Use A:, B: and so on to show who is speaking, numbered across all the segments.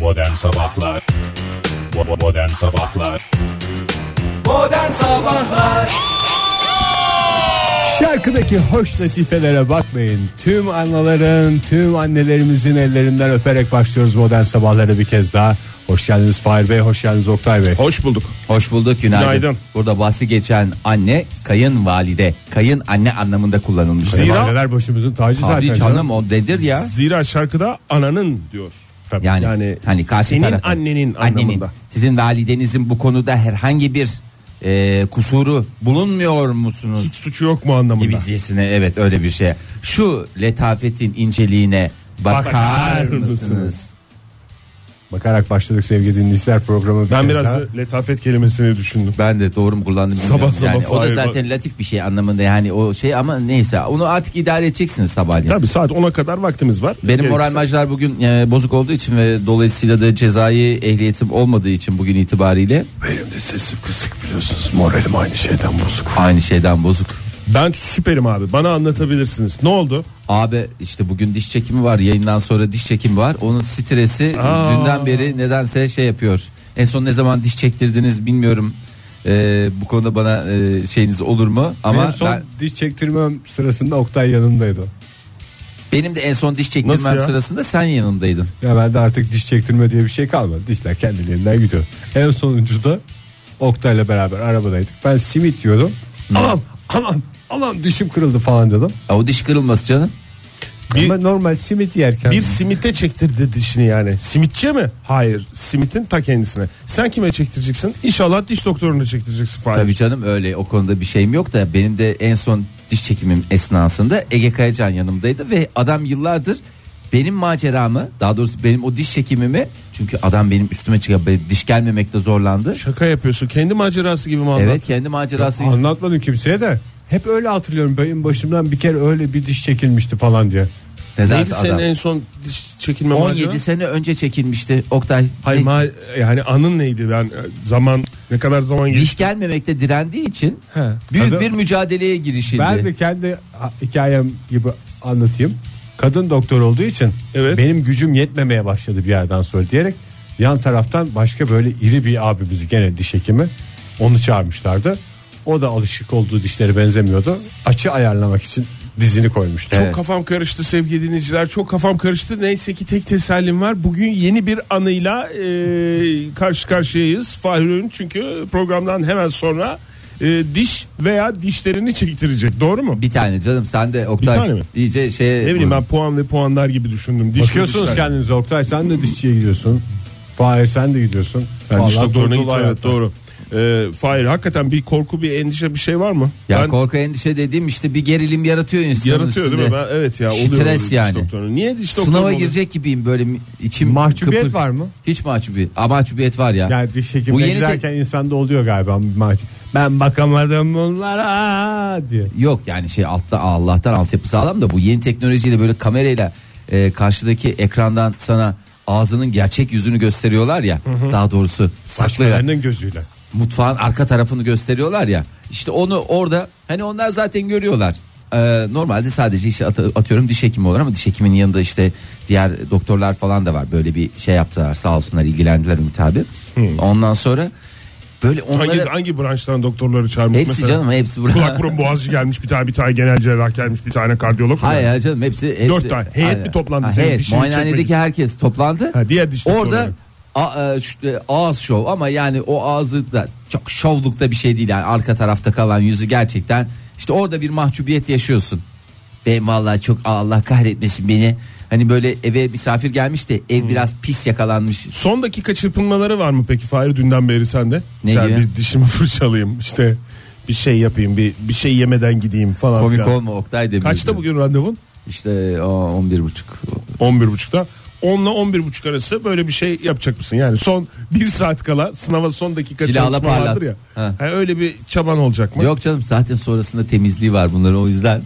A: Modern Sabahlar Bo- Modern Sabahlar
B: Modern Sabahlar
C: Şarkıdaki hoş latifelere bakmayın. Tüm analların, tüm annelerimizin ellerinden öperek başlıyoruz modern sabahları bir kez daha. Hoş geldiniz Fahir Bey, hoş geldiniz Oktay Bey.
D: Hoş bulduk.
E: Hoş bulduk günaydın.
D: Günaydın.
E: Burada bahsi geçen anne kayınvalide, kayınanne anlamında kullanılmış.
D: Zira-
C: Neler başımızın tacı
E: Abi
C: zaten. canım.
E: canım o dedir ya.
D: Zira şarkıda ananın diyor.
E: Yani,
D: Yani
E: hani karşı
D: senin
E: tarafın-
D: annenin anlamında.
E: Sizin validenizin bu konuda herhangi bir e, kusuru bulunmuyor musunuz?
D: Hiç suçu yok mu anlamında.
E: gibicesine evet öyle bir şey. Şu letafetin inceliğine bakar,
D: Bakar
E: mısınız?
D: mısınız?
C: Bakarak başladık sevgili dinleyiciler programı.
D: Ben
C: kez
D: biraz
C: daha.
D: da letafet kelimesini düşündüm.
E: Ben de doğru mu kullandım bilmiyorum.
D: Sabah
E: yani
D: sabah
E: o da
D: hayır.
E: zaten latif bir şey anlamında yani o şey ama neyse onu artık idare edeceksiniz sabahleyin.
D: Tabii saat 10'a kadar vaktimiz var.
E: Benim
D: Gerekirse-
E: moral maçlar bugün e, bozuk olduğu için ve dolayısıyla da cezai ehliyetim olmadığı için bugün itibariyle
C: Benim de sesim kısık biliyorsunuz. Moralim aynı şeyden bozuk.
E: aynı şeyden bozuk.
D: Ben süperim abi. Bana anlatabilirsiniz. Ne oldu?
E: Abi işte bugün diş çekimi var yayından sonra diş çekimi var onun stresi
D: Aa.
E: dünden beri nedense şey yapıyor. En son ne zaman diş çektirdiniz bilmiyorum. E, bu konuda bana e, şeyiniz olur mu ama
C: Ama son
E: ben-
C: diş çektirmem sırasında Oktay yanımdaydı.
E: benim de en son diş
D: Nasıl
E: çektirmem
D: ya?
E: sırasında sen yanımdaydın.
C: Ya ben de artık diş çektirme diye bir şey kalmadı. Dişler kendiliğinden gidiyor. En sonuncu da Oktay'la beraber arabadaydık. Ben simit yiyordum. Aman aman aman dişim kırıldı falan dedim.
E: Ya o diş kırılması canım.
D: Bir-
C: Ama normal simit yerken
D: Bir simite çektirdi dişini yani. Simitçiye mi? Hayır. Simitin ta kendisine. Sen kime çektireceksin? İnşallah diş doktoruna çektireceksin Fahir.
E: Tabii canım öyle o konuda bir şeyim yok da benim de en son diş çekimim esnasında Ege Kayacan yanımdaydı ve adam yıllardır benim maceramı daha doğrusu benim o diş çekimimi çünkü adam benim üstüme çıkıp böyle diş gelmemekte zorlandı.
D: Şaka yapıyorsun. Kendi macerası gibi mi anlattın?
E: Evet kendi macerası.
C: anlatmadım kimseye de. Hep öyle hatırlıyorum benim başımdan bir kere öyle bir diş çekilmişti falan diye.
E: Nedense
D: Neydi senin
E: adam.
D: en son diş çekilme
E: 17
D: maceran?
E: sene önce çekilmişti Oktay.
D: Hayır
E: Ne-
D: ma- yani anın neydi? Ben e, zaman ne kadar zaman geçti?
E: diş gelmemekte direndiği için
D: He.
E: büyük
C: Adam-
E: bir mücadeleye girişildi.
C: Ben de kendi ha- hikayem gibi anlatayım. Kadın doktor olduğu için
D: Evet.
C: benim gücüm yetmemeye başladı bir yerden sonra diyerek yan taraftan başka böyle iri bir abimizi gene diş hekimi onu çağırmışlardı. O da alışık olduğu dişleri benzemiyordu. Açı ayarlamak için dizini koymuştu.
D: Çok kafam karıştı sevgili dinleyiciler. Çok kafam karıştı. Neyse ki tek tesellim var. Bugün yeni bir anıyla e, karşı karşıyayız. Fahir Öğün çünkü programdan hemen sonra e, diş veya dişlerini çektirecek. Doğru mu?
E: bir tane canım sen de Oktay
D: tane mi?
E: iyice şey
D: Ne bileyim ben puan ve puanlar gibi düşündüm. Diş ve
C: Bakıyorsunuz
D: dişler.
C: kendinize Oktay sen de dişçiye gidiyorsun. Fahir sen de gidiyorsun.
D: Ben diş
C: Vallahi
D: doktoruna
C: dolu
D: gittim.
C: hayatlar.
D: Evet doğru. E, Fahir hakikaten bir korku bir endişe bir şey var mı?
E: Ya
D: ben
E: korku endişe dediğim işte bir gerilim yaratıyor insanın
D: yaratıyor
E: üstünde.
D: değil mi? Ben, evet ya oluyor.
E: Stres
D: oluyor diş
E: yani.
D: doktoruna. Niye diş doktoruna?
E: Sınava
D: oluyor?
E: girecek gibiyim böyle mi- içim
C: Mahcubiyet
E: kıpır-
C: var mı?
E: Hiç mahcubiyet. Aa, mahcubiyet var ya.
C: Yani diş
E: Bu
C: hekimine
E: yeni
C: giderken insanda oluyor galiba. Maç- Ben bakamadım bunlara diye.
E: Yok yani şey altta Allah'tan altyapı sağlam da bu yeni teknolojiyle böyle kamerayla e, karşıdaki ekrandan sana ağzının gerçek yüzünü gösteriyorlar ya. Daha doğrusu saklıyorlar.
C: Başkalarının gözüyle.
E: mutfağın arka tarafını gösteriyorlar ya. İşte onu orada hani onlar zaten görüyorlar. Ee, normalde sadece işte at- atıyorum diş hekimi olur ama diş hekiminin yanında işte diğer doktorlar falan da var. Böyle bir şey yaptılar sağ olsunlar ilgilendiler Ümit abi. Ondan sonra böyle onları
D: Hangi, hangi branştan doktorları çağırmak
E: hepsi
D: mesela?
E: canım hepsi
D: Kulak burun boğazcı gelmiş bir tane bir tane genel cerrah gelmiş bir tane kardiyolog. mu?
E: Hayır hayır canım hepsi, hepsi
D: Dört tane. Heyet
E: Hayır.
D: mi toplandı
E: Ha,
D: senin
E: heyet.
D: dişini çekmek için?
E: Muayenehanedeki herkes toplandı.
D: Ha, diğer diş
E: Orada
D: doktorları.
E: a- e, şu- e, ağız şov ama yani o ağzı da çok şovlukta bir şey değil yani arka tarafta kalan yüzü gerçekten işte orada bir mahcubiyet yaşıyorsun. Ben vallahi çok Aa, Allah kahretmesin beni. Hani böyle eve misafir gelmiş de ev biraz pis yakalanmış.
D: Son dakika çırpınmaları var mı peki Fahir dünden beri sende?
E: Ne
D: Sen
E: gibi?
D: bir dişimi fırçalayayım işte bir şey yapayım bir bir şey yemeden gideyim falan
E: Komik
D: filan.
E: olma Oktay demiş.
D: Kaçta bugün randevun?
E: İşte o, 11 buçuk.
D: 11.30'da. 10 ile 11.30 arası böyle bir şey yapacak mısın? Yani son bir saat kala sınava son dakika
E: Silahla
D: çalışma
E: parlat.
D: vardır ya.
E: Ha.
D: Ha, öyle bir çaban olacak mı?
E: Yok canım zaten sonrasında temizliği var bunların o yüzden.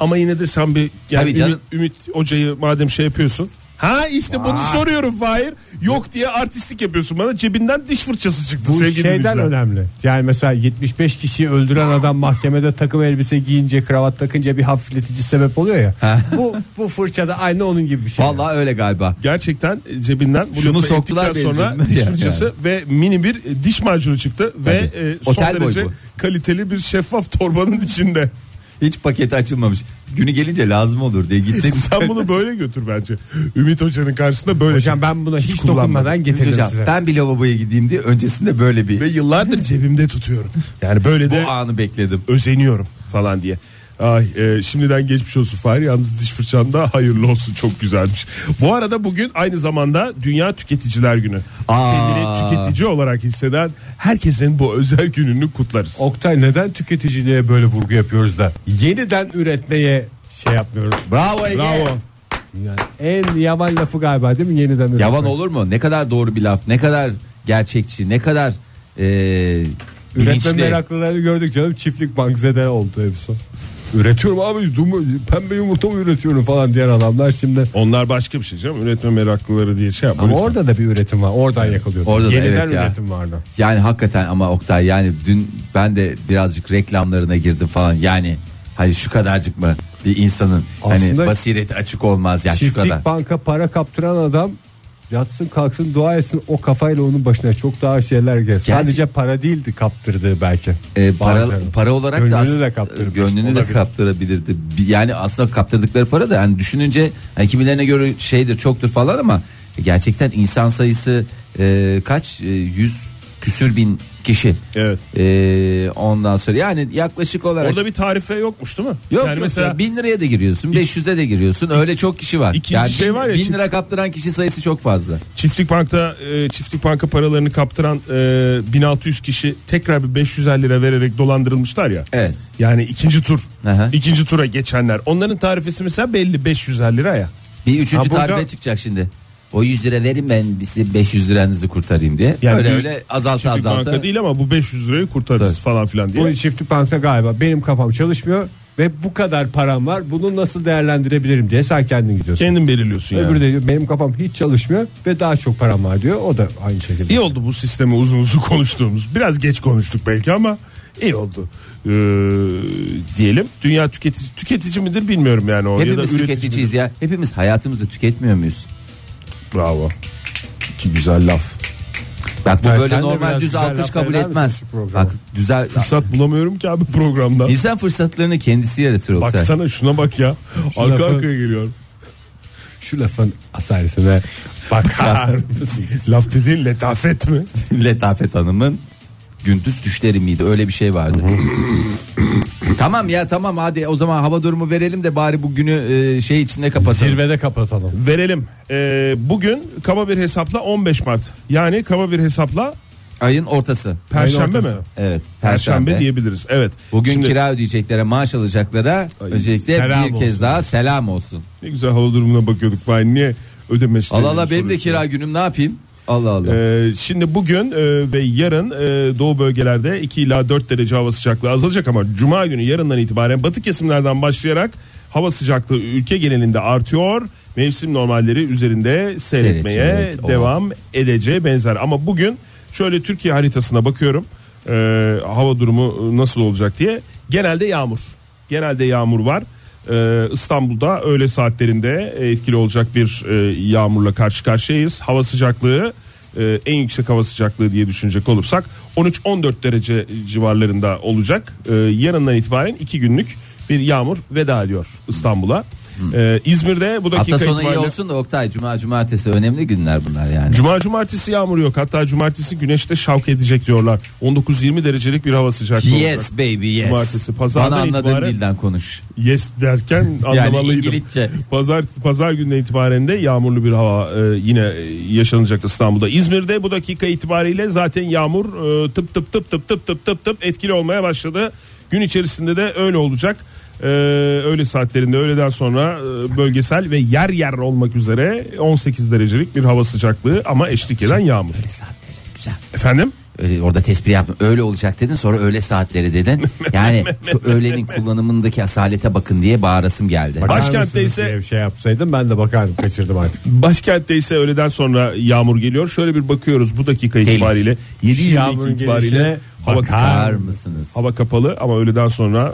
D: Ama yine de sen bir yani
E: Tabii
D: Ümit,
E: canım.
D: Ümit Hoca'yı madem şey yapıyorsun Ha işte bunu soruyorum Fahir. Yok diye artistlik yapıyorsun bana. Cebinden diş fırçası çıktı
C: Bu
D: sevgili
C: şeyden
D: dinleyiciler.
C: önemli. Yani mesela 75 kişiyi öldüren adam mahkemede takım elbise giyince kravat takınca bir hafifletici sebep oluyor ya. bu bu fırçada aynı onun gibi bir şey.
E: Vallahi öyle galiba.
D: Gerçekten e, cebinden bu
E: Şunu
D: lafı
E: soktular
D: ettikten
E: benim
D: sonra
E: cebime
D: diş
E: yani.
D: fırçası ve mini bir e, diş macunu çıktı ve e, son
E: Otel boy
D: derece
E: bu.
D: kaliteli bir şeffaf torbanın içinde.
E: Hiç paketi açılmamış. Günü gelince lazım olur diye gittim.
D: Sen bunu böyle götür bence. Ümit Hoca'nın karşısında böyle. şey.
C: Hocam ben buna hiç, dokunmadan getirdim
E: Hocam,
C: size.
E: Ben bir lavaboya gideyim diye öncesinde böyle bir
D: ve yıllardır cebimde tutuyorum. Yani böyle
E: bu
D: de
E: anı bekledim.
D: özeniyorum falan diye. Ay e, şimdiden geçmiş olsun Fahri yalnız diş fırçan da hayırlı olsun çok güzelmiş. Bu arada bugün aynı zamanda Dünya Tüketiciler Günü.
E: Aa.
D: Kendini tüketici olarak hisseden herkesin bu özel gününü kutlarız.
C: Oktay neden tüketiciliğe böyle vurgu yapıyoruz da yeniden üretmeye şey yapmıyoruz.
E: Bravo Ege.
D: Bravo.
C: Yani en yavan lafı galiba değil mi yeniden üretmek?
E: Yavan olur mu? Ne kadar doğru bir laf, ne kadar gerçekçi, ne kadar e,
C: Üretme
E: bilinçli.
C: meraklılarını gördük canım çiftlik bankzede oldu hepsi. Üretiyorum abi dumu, pembe yumurta mı üretiyorum falan diyen adamlar şimdi.
D: Onlar başka bir şey canım üretme meraklıları diye şey yapma.
C: Ama
D: lütfen.
C: orada da bir üretim var. Oradan yakalıyor.
E: Orada da
C: Yeniden
E: evet ya.
C: üretim vardı.
E: Yani hakikaten ama Oktay yani dün ben de birazcık reklamlarına girdim falan yani hani şu kadarcık mı bir insanın
C: Aslında
E: hani basireti açık olmaz ya şu kadar.
C: Çiftlik banka para kaptıran adam yatsın kalksın dua etsin o kafayla onun başına çok daha şeyler gelir. Sadece para değildi kaptırdığı belki.
E: E, para,
C: Bazıları.
E: para olarak da
C: Gönlünü
E: as-
C: de kaptırmış.
E: gönlünü de
C: Olabilir.
E: kaptırabilirdi. Bir- Yani aslında kaptırdıkları para da yani düşününce hani kimilerine göre şeydir çoktur falan ama gerçekten insan sayısı e, kaç? E, yüz küsür bin kişi.
D: Evet.
E: E, ondan sonra yani yaklaşık olarak
D: Orada bir tarife yokmuş değil mi?
E: Yok
D: yani
E: yok
D: mesela
E: ya, bin liraya da giriyorsun 500'e de giriyorsun öyle çok kişi var.
D: İkinci
E: yani
D: şey
E: bin,
D: var ya,
E: bin
D: çift-
E: lira kaptıran kişi sayısı çok fazla.
D: Çiftlik Bank'ta e, Çiftlik Bank'a paralarını kaptıran e, 1600 kişi tekrar bir 500 lira vererek dolandırılmışlar ya.
E: Evet.
D: Yani ikinci tur.
E: Aha.
D: ikinci tura geçenler. Onların tarifesi mesela belli 500 lira ya.
E: Bir üçüncü
C: Ha, burada-
E: tarife çıkacak şimdi. O 100 lira verin ben size 500 liranızı kurtarayım diye.
D: Yani
E: öyle
D: bir-
E: öyle azalta
D: Çiftlik
E: azalta.
D: banka değil ama bu 500 lirayı kurtarırız
E: Tabii.
D: falan filan diye.
C: Bu çiftlik bankta galiba benim kafam çalışmıyor ve bu kadar param var bunu nasıl değerlendirebilirim diye sen kendin gidiyorsun.
D: Kendin belirliyorsun yani.
C: Öbürü de diyor benim kafam hiç çalışmıyor ve daha çok param var diyor. O da aynı şekilde.
D: İyi oldu bu sistemi uzun uzun konuştuğumuz. Biraz geç konuştuk belki ama iyi oldu. Ee, diyelim. Dünya tüketici tüketici midir bilmiyorum yani o ya da
E: Hepimiz
D: üretici
E: tüketiciyiz ya. Hepimiz hayatımızı tüketmiyor muyuz?
D: midir? Bravo. Ki güzel laf.
E: Bak bu
C: Ben
E: böyle
C: sen de
E: normal
C: biraz
E: düz
C: güzel
E: alkış
C: laf
E: kabul
C: eder misin
E: etmez.
C: şu programa?
E: Bak düzel
D: Fırsat bulamıyorum ki abi programda.
E: insan fırsatlarını kendisi yaratır Oktay.
D: Baksana şuna bak ya. Arka
C: lafı-
D: arkaya geliyor.
C: Şu lafın asaletine bakar mısın?
D: Laf dediğin letafet mi?
E: Letafet Hanım'ın gündüz düşleri miydi? Öyle bir şey vardı. tamam ya tamam hadi o zaman hava durumu verelim de bari bu günü e, şey içinde kapatalım.
C: Zirvede kapatalım.
D: Verelim. Ee, bugün kaba bir hesapla 15 Mart. Yani kaba bir hesapla
E: Ayın ortası.
D: Perşembe mi?
C: ortası.
D: Perşembe,
E: Evet. Perşembe.
D: diyebiliriz. Evet.
E: Bugün
D: Şimdi-
E: kira ödeyeceklere, maaş alacaklara öncelikle
C: selam
E: bir kez
C: olsun.
E: daha selam olsun.
D: Ne güzel hava durumuna bakıyorduk. Vay niye ödeme işlerini
E: Allah Allah benim de
D: soruyorsun?
E: kira günüm ne yapayım? Allah Allah.
D: Ee, şimdi bugün e, ve yarın e, doğu bölgelerde 2 ila 4 derece hava sıcaklığı azalacak ama cuma günü yarından itibaren batı kesimlerden başlayarak hava sıcaklığı ülke genelinde artıyor. Mevsim normalleri üzerinde seyretmeye
E: Seyredecek, o.
D: devam edeceği benzer ama bugün şöyle Türkiye haritasına bakıyorum. e, hava durumu nasıl olacak diye. Genelde yağmur. Genelde yağmur var. Ee, İstanbul'da öğle saatlerinde etkili olacak bir e, yağmurla karşı karşıyayız. Hava sıcaklığı e, en yüksek hava sıcaklığı diye düşünecek olursak 13-14 derece civarlarında olacak. Ee, yarından itibaren 2 günlük bir yağmur veda ediyor İstanbul'a. Ee, İzmir'de bu dakika
E: Hafta sonu iyi
D: itibariyle-
E: olsun da Oktay Cuma Cumartesi önemli günler bunlar yani.
D: Cuma cumartesi yağmur yok. Hatta cumartesi güneşte şavk edecek diyorlar. 19-20 derecelik bir hava sıcaklığı olacak.
E: Yes baby yes.
D: Cumartesi, pazardan
E: Bana anladığın
D: itibaren-
E: dilden konuş.
D: Yes derken anlamalıydım.
E: İngilizce.
D: Pazar pazar gününe itibaren de yağmurlu bir hava e, yine e, yaşanacak İstanbul'da. İzmir'de bu dakika itibariyle zaten yağmur e, tıp tıp tıp tıp tıp tıp tıp tıp etkili olmaya başladı. Gün içerisinde de öyle olacak. E, öğle saatlerinde öğleden sonra e, bölgesel ve yer yer olmak üzere 18 derecelik bir hava sıcaklığı ama eşlik eden yağmur.
E: Saatleri güzel.
D: Efendim?
E: Öyle orada tespih yaptın. Öyle olacak dedin sonra öğle saatleri dedin. Yani şu öğlenin kullanımındaki asalete bakın diye bağırasım geldi.
C: Bakar
D: Başkentte
C: mısınız
D: ise-
C: diye bir şey yapsaydım ben de bakardım kaçırdım artık.
D: Başkentte ise öğleden sonra yağmur geliyor. Şöyle bir bakıyoruz bu dakika
E: Telif.
D: itibariyle. 7
C: Yağmurun gelişine
D: itibariyle hava,
E: Bakar mısınız?
D: hava kapalı ama öğleden sonra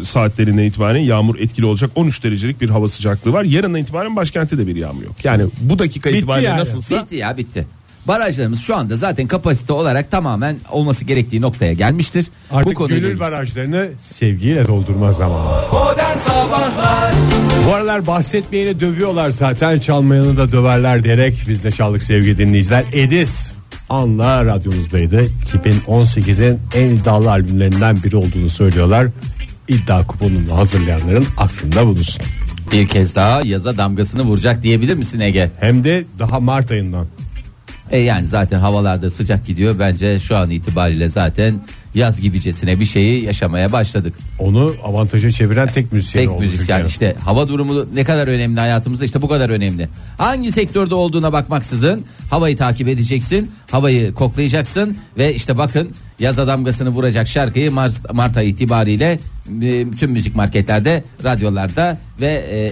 D: e, saatlerine itibaren yağmur etkili olacak. 13 derecelik bir hava sıcaklığı var. Yarından itibaren başkentte de bir yağmur yok. Yani bu dakika itibariyle
C: yani.
D: nasılsa
E: Bitti ya bitti. Barajlarımız şu anda zaten kapasite olarak tamamen olması gerektiği noktaya gelmiştir.
C: Artık
E: konuda
C: gönül
E: değil.
C: barajlarını sevgiyle doldurma zamanı.
B: Modern Sabahlar
C: Bu aralar bahsetmeyeni dövüyorlar zaten çalmayanı da döverler diyerek biz de çaldık sevgili dinleyiciler. Edis Anla radyomuzdaydı. 2018'in en iddialı albümlerinden biri olduğunu söylüyorlar. İddia kuponunu hazırlayanların aklında bulunsun.
E: Bir kez daha yaza damgasını vuracak diyebilir misin Ege?
C: Hem de daha Mart ayından.
E: E yani zaten havalarda sıcak gidiyor. Bence şu an itibariyle zaten yaz gibicesine bir şeyi yaşamaya başladık.
C: Onu avantaja çeviren tek müzisyen
E: Tek
C: oldu.
E: müzisyen
C: Türkiye'nin.
E: işte hava durumu ne kadar önemli hayatımızda işte bu kadar önemli. Hangi sektörde olduğuna bakmaksızın havayı takip edeceksin, havayı koklayacaksın ve işte bakın yaza damgasını vuracak şarkıyı Mart, Mart ayı itibariyle e, tüm müzik marketlerde, radyolarda ve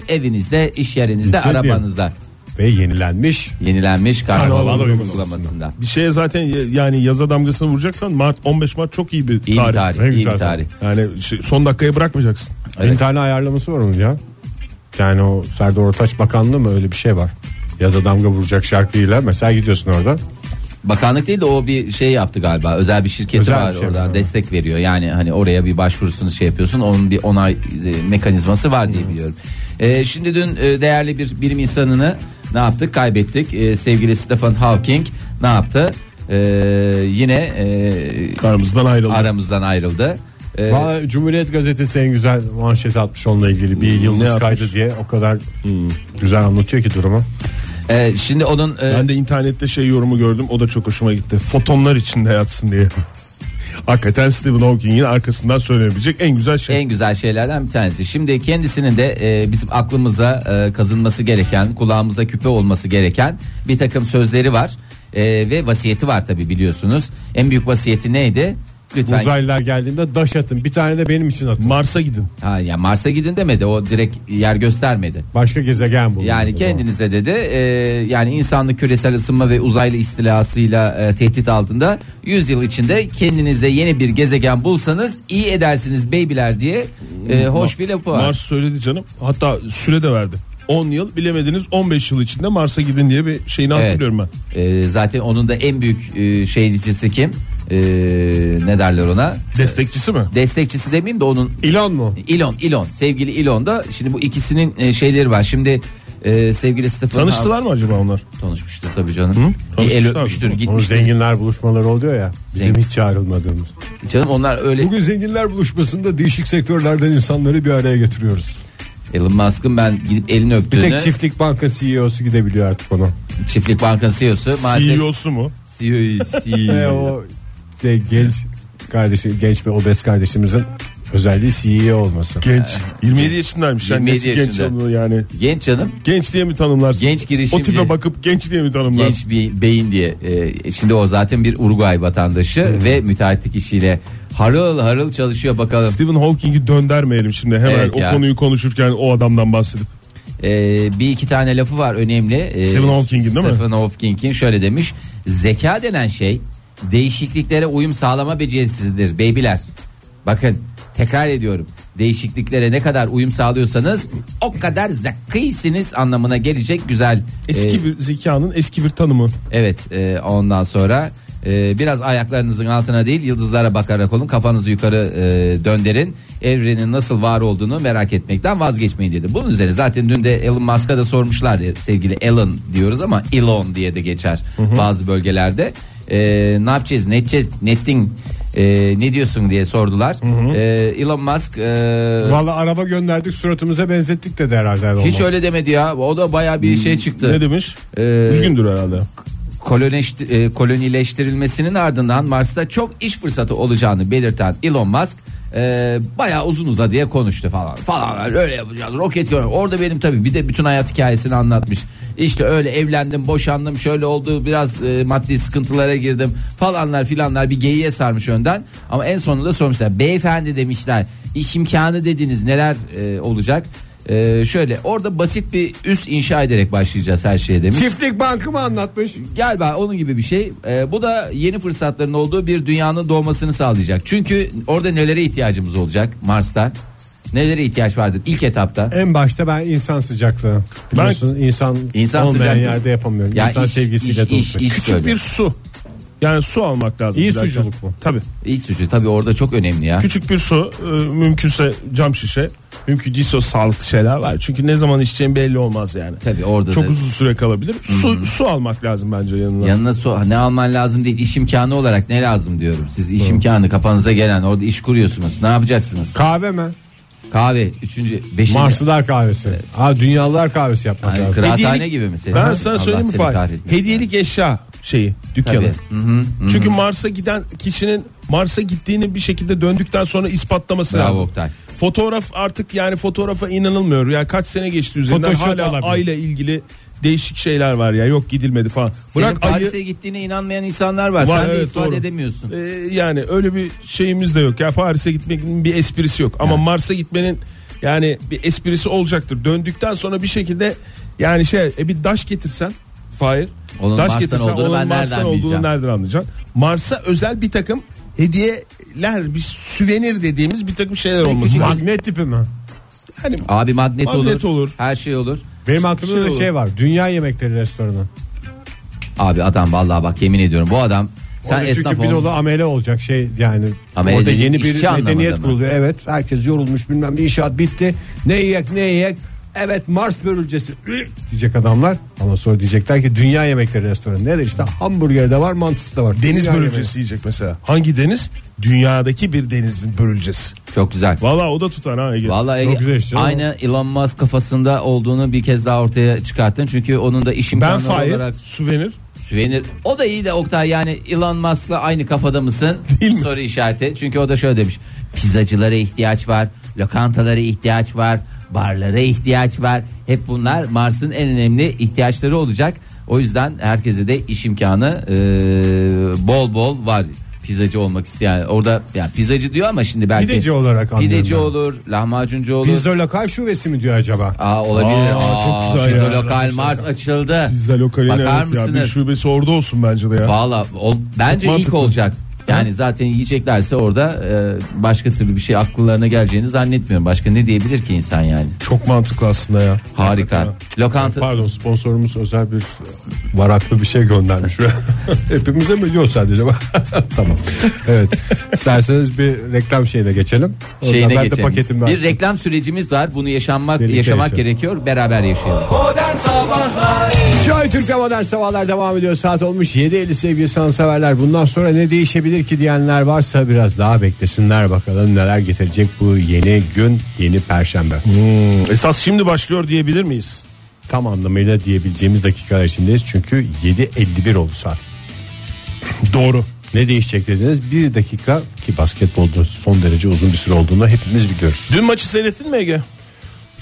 E: e, evinizde, iş yerinizde,
C: Bütün
E: arabanızda
C: Ve yenilenmiş.
E: yenilenmiş karnaval
C: Karnaval
E: uygulamasında.
D: bir şeye zaten ya- yani yaza damgasını vuracaksan Mart 15 Mart çok iyi bir
E: İyi bir
D: tarih.
E: tarih,
C: Ne
E: iyi
C: güzel
E: bir tarih.
D: Yani şey- son dakikaya bırakmayacaksın.
E: Evet.
C: Bir tane ayarlaması var onun ya. Yani o Serdar Ortaç Bakanlığı mı öyle bir şey var. Yaza damga vuracak şarkıyla mesela gidiyorsun orada.
E: Bakanlık değil de o bir şey yaptı galiba. Özel bir şirketi
C: Özel
E: var
C: bir şey
E: oradan
C: var.
E: destek veriyor. Yani hani oraya bir başvurusunu şey yapıyorsun. Onun bir onay e, mekanizması var diye biliyorum. Ee, şimdi dün e, değerli bir bilim insanını ne yaptık? Kaybettik. Ee, sevgili Stephen Hawking ne yaptı? Ee, yine e,
D: Aramızdan ayrıldı.
E: aramızdan ayrıldı. Ee,
C: Valla Cumhuriyet Gazetesi en güzel manşet atmış onunla ilgili bir
D: Hmm, Ne Hmm.
C: yıldız
D: yapmış?
C: kaydı diye o kadar güzel anlatıyor ki durumu.
E: e, şimdi onun e,
D: Ben de internette şey yorumu gördüm. O da çok hoşuma gitti. Fotonlar içinde yatsın diye. Hakikaten Stephen Hawking'in arkasından söylenebilecek en güzel şey.
E: En güzel şeylerden bir tanesi. Şimdi kendisinin de e, bizim aklımıza e, kazınması gereken, kulağımıza küpe olması gereken bir takım sözleri var. E, ve vasiyeti var tabi biliyorsunuz. En büyük vasiyeti neydi? Lütfen.
C: Uzaylılar geldiğinde daş atın bir tane de benim için atın.
D: Mars'a gidin.
E: Ha, ya Mars'a gidin demedi. O direkt yer göstermedi.
C: Başka gezegen bu.
E: Yani kendinize dedi e, yani insanlık küresel ısınma ve uzaylı istilasıyla e, tehdit altında 100 yıl içinde kendinize yeni bir gezegen bulsanız iyi edersiniz beybiler diye e, hoş bir lafı var.
D: Mars söyledi canım. Hatta süre de verdi. 10 yıl bilemediniz 15 yıl içinde Mars'a gidin diye bir şeyini
E: Evet.
D: hatırlıyorum ben.
E: Ee, zaten onun da en büyük e, şeycisi kim? Ee, ne derler ona?
D: Destekçisi mi?
E: Destekçisi demeyeyim de onun
C: Elon mu?
E: Elon, Elon, sevgili Elon da şimdi bu ikisinin e, şeyleri var. Şimdi e, sevgili Stephen
D: Tanıştılar mı acaba onlar?
E: Hawking- Tanışmıştır tabii canım.
D: Hı?
E: Bir el
D: Tanışmışlar
E: öpmüştür,
D: mı?
C: Onun
E: gitmiştir.
C: zenginler buluşmaları oluyor ya. Bizim
E: Zengin.
C: hiç çağrılmadığımız.
E: Canım onlar öyle
C: Bugün zenginler buluşmasında değişik sektörlerden insanları bir araya getiriyoruz.
E: Elon Musk'ın ben gidip elini
C: Bir
E: öptüğünü
C: tek çiftlik banka CEO'su gidebiliyor artık ona.
E: çiftlik bankası CEO'su maalesef E
D: CEO'su E mu?
E: CEO,
D: E
C: Ve o şey, genç kardeşi, genç ve obez kardeşimizin özelliği CEO olması.
D: Genç. 27 yaşındaymış. Yani
E: 27
D: nasıl genç
E: Ee, yaşında.
D: olduğunu yani.
E: genç canım
D: Genç diye mi tanımlarsın?
E: Genç girişimci.
D: O tipe bakıp genç diye mi tanımlarsın?
E: genç bir beyin diye. Ee, şimdi o zaten bir Uruguay vatandaşı ve müteahhitlik işiyle harıl harıl çalışıyor bakalım.
D: Stephen Hawking'i döndermeyelim şimdi hemen
E: Evet
D: o
E: ya.
D: konuyu konuşurken o adamdan bahsedip.
E: Ee, bir iki tane lafı var önemli. Ee,
D: Stephen Hawking'in değil mi?
E: Stephen Hawking'in şöyle demiş. Zeka denen şey değişikliklere uyum sağlama becerisidir beybiler. Bakın tekrar ediyorum. Değişikliklere ne kadar uyum sağlıyorsanız o kadar zekisiniz anlamına gelecek güzel.
D: Eski
E: e,
D: bir zekanın eski bir tanımı.
E: Evet e, ondan sonra e, biraz ayaklarınızın altına değil yıldızlara bakarak olun kafanızı yukarı e, döndürün evrenin nasıl var olduğunu merak etmekten vazgeçmeyin dedi. Bunun üzerine zaten dün de Elon Musk'a da sormuşlar ya, sevgili Elon diyoruz ama Elon diye de geçer bazı bölgelerde. E, ne yapacağız ne edeceğiz netting e, ne diyorsun diye sordular. E, Elon Musk e,
C: Valla araba gönderdik suratımıza benzettik dedi herhalde.
E: hiç öyle demedi ya o da baya bir şey çıktı.
D: Ne demiş?
E: E,
D: Üzgündür herhalde.
E: Koloneşti- e, kolonileştirilmesinin ardından Mars'ta çok iş fırsatı olacağını belirten Elon Musk e, bayağı uzun uzadıya konuştu falan falan öyle yapacağız roket yorum. Orada benim tabii bir de bütün hayat hikayesini anlatmış. İşte öyle evlendim boşandım şöyle oldu biraz e, maddi sıkıntılara girdim falanlar filanlar bir geyiğe sarmış önden. Ama en sonunda sormuşlar beyefendi demişler iş imkanı dediniz neler e, olacak. E, şöyle orada basit bir üst inşa ederek başlayacağız her şeye demiş
C: Çiftlik bankı mı anlatmış?
E: galiba onun gibi bir şey. Ee, bu da yeni fırsatların olduğu bir dünyanın doğmasını sağlayacak. Çünkü orada nelere ihtiyacımız olacak Mars'ta? Nelere ihtiyaç vardır ilk etapta?
C: En başta ben insan sıcaklığı. Biliyorsun insan,
E: İnsan
C: olmayan
E: sıcaklığı-
C: yerde yapamıyorum.
E: Ya
C: insan
E: iş-
C: sevgisiyle
E: iş-
C: dolu.
E: iş- iş-
D: Küçük
E: Şöyle.
D: bir su. Yani su almak lazım.
C: İyi
D: birazcık.
C: suculuk bu.
D: Tabii.
E: İlk suçu tabii orada çok önemli ya.
D: Küçük bir su e, mümkünse cam şişe. Mümkün değilse o sağlıklı şeyler var. Çünkü ne zaman içeceğin belli olmaz yani.
E: Tabii orada
D: Çok
E: da-
D: uzun süre kalabilir. Su su almak lazım bence yanına.
E: Yanına so ne alman lazım değil iş imkanı olarak ne lazım diyorum. Siz iş imkanı kafanıza gelen orada iş kuruyorsunuz. Ne yapacaksınız?
C: Kahve mi?
E: Kahve üçüncü beşinci.
C: Marslılar kahvesi. Ha dünyalılar kahvesi yapmak
E: Yani
C: lazım.
E: kıraathane
D: Hediyelik-
E: gibi mi? senin?
D: Ben sana
E: Allah
D: söyleyeyim mi
E: seni
D: Fahir?
E: kahretmesin.
D: Hediyelik eşya şeyi dükkanı.
E: Tabii. Hı hı, hı.
D: Çünkü Mars'a giden kişinin Mars'a gittiğini bir şekilde döndükten sonra ispatlaması
E: Bravo
D: lazım.
E: Oktay.
D: Fotoğraf artık yani fotoğrafa inanılmıyor. Ya kaç sene geçti üzerinden
C: Photoshop
D: hala
C: olabilir.
D: ayla ilgili değişik şeyler var ya. Yok gidilmedi falan.
E: Senin
D: Bırak ayı
E: Paris'e gittiğine inanmayan insanlar var.
D: Var,
E: Sen de
D: evet,
E: ispat
D: doğru.
E: edemiyorsun.
D: Ee, yani öyle bir şeyimiz de yok. Ya Paris'e gitmenin bir esprisi yok. Ama Mars'a gitmenin yani bir esprisi olacaktır. Döndükten sonra bir şekilde yani şey e bir daş getirsen Fahir.
E: Onun
D: daş
E: Mars'tan olduğunu ben
D: Mars'tan
E: nereden
D: olduğunu
E: bileceğim?
D: nereden anlayacaksın? Mars'a özel bir takım hediyeler, bir süvenir dediğimiz bir takım şeyler olması lazım.
C: Magnet tipi mi?
D: Hani
E: Abi magnet,
D: Magnet
E: olur.
D: olur.
E: Her şey olur.
C: Benim aklımda
D: Şey
C: da
D: olur.
C: şey var. Dünya yemekleri restoranı.
E: Abi adam vallahi bak yemin ediyorum bu adam sen
C: Orada
E: esnaf
C: çünkü bir
E: olmuş.
C: dolu amele olacak şey yani.
E: Amele
C: Orada
E: dediğin
C: yeni bir
E: işçi anlamında
C: medeniyet
E: mı?
C: kuruluyor. Evet herkes yorulmuş bilmem ne inşaat bitti. Ne yiyek ne yiyek. Evet Mars börülcesi üf diyecek adamlar. Ama sonra diyecekler ki dünya yemekleri restoranı. Nedir işte hamburger de var mantısı da var.
D: deniz
C: Dünya
D: börülcesi yiyecek mesela. Hangi deniz? Dünyadaki bir denizin börülcesi.
E: Çok güzel.
D: Valla o da tutar ha Ege.
E: Vallahi
C: Çok güzel işte,
E: aynı Elon Musk kafasında olduğunu bir kez daha ortaya çıkarttın. Çünkü onun da iş
D: ben
E: imkanları
D: Fahir,
E: olarak
D: süvenir.
E: süvenir. O da iyi de Oktay yani Elon Musk'la aynı kafada mısın? Soru işareti. Çünkü o da şöyle demiş. Pizzacılara ihtiyaç var. Lokantalara ihtiyaç var. Barlara ihtiyaç var. Hep bunlar Mars'ın en önemli ihtiyaçları olacak. O yüzden herkese de iş imkanı eee, bol bol var. Pizzacı olmak isteyen orada yani pizzacı diyor ama şimdi belki
C: Pideci olarak anlıyorum
E: pideci
C: ben.
E: olur, lahmacuncu olur.
C: Pizza lokal şubesi mi diyor acaba?
E: Aa olabilir.
D: Aa,
E: Aa,
D: çok güzel
E: pizza
D: ya.
E: lokal Mars açıldı.
D: Pizza lokaline
E: Bakar
D: evet ya. Bir
E: mısınız?
D: şubesi orada olsun bence de ya.
E: Valla o- bence
D: Mantıklı.
E: ilk olacak. Yani zaten yiyeceklerse orada e, başka türlü bir şey akıllarına geleceğini zannetmiyorum. Başka ne diyebilir ki insan yani?
D: Çok mantıklı aslında ya.
E: Harika. Lokanta
C: Pardon sponsorumuz özel bir varaklı bir şey göndermiş. Hepimize mi? Yok sadece. tamam. Evet. İsterseniz bir reklam şeyine geçelim. O zaman
E: şeyine
C: ben de
E: geçelim.
C: paketimi
E: Bir reklam sürecimiz var. Bunu yaşanmak
C: Birlikte
E: yaşamak
C: yaşayalım.
E: gerekiyor. Beraber yaşayalım.
B: Modern Sabahlar
C: Joy Türk'e modern sabahlar devam ediyor. Saat olmuş 7.50 sevgili sanatseverler. Bundan sonra ne değişebilir ki diyenler varsa biraz daha beklesinler bakalım neler getirecek bu yeni gün, yeni perşembe.
D: Hmm, Esas şimdi başlıyor diyebilir miyiz?
C: Tam anlamıyla diyebileceğimiz dakikalar içindeyiz. Çünkü 7.51 oldu saat.
D: Doğru.
C: Ne değişecek dediniz? Bir dakika ki basketbolda son derece uzun bir süre olduğunu hepimiz biliyoruz.
D: Dün maçı seyrettin mi Ege?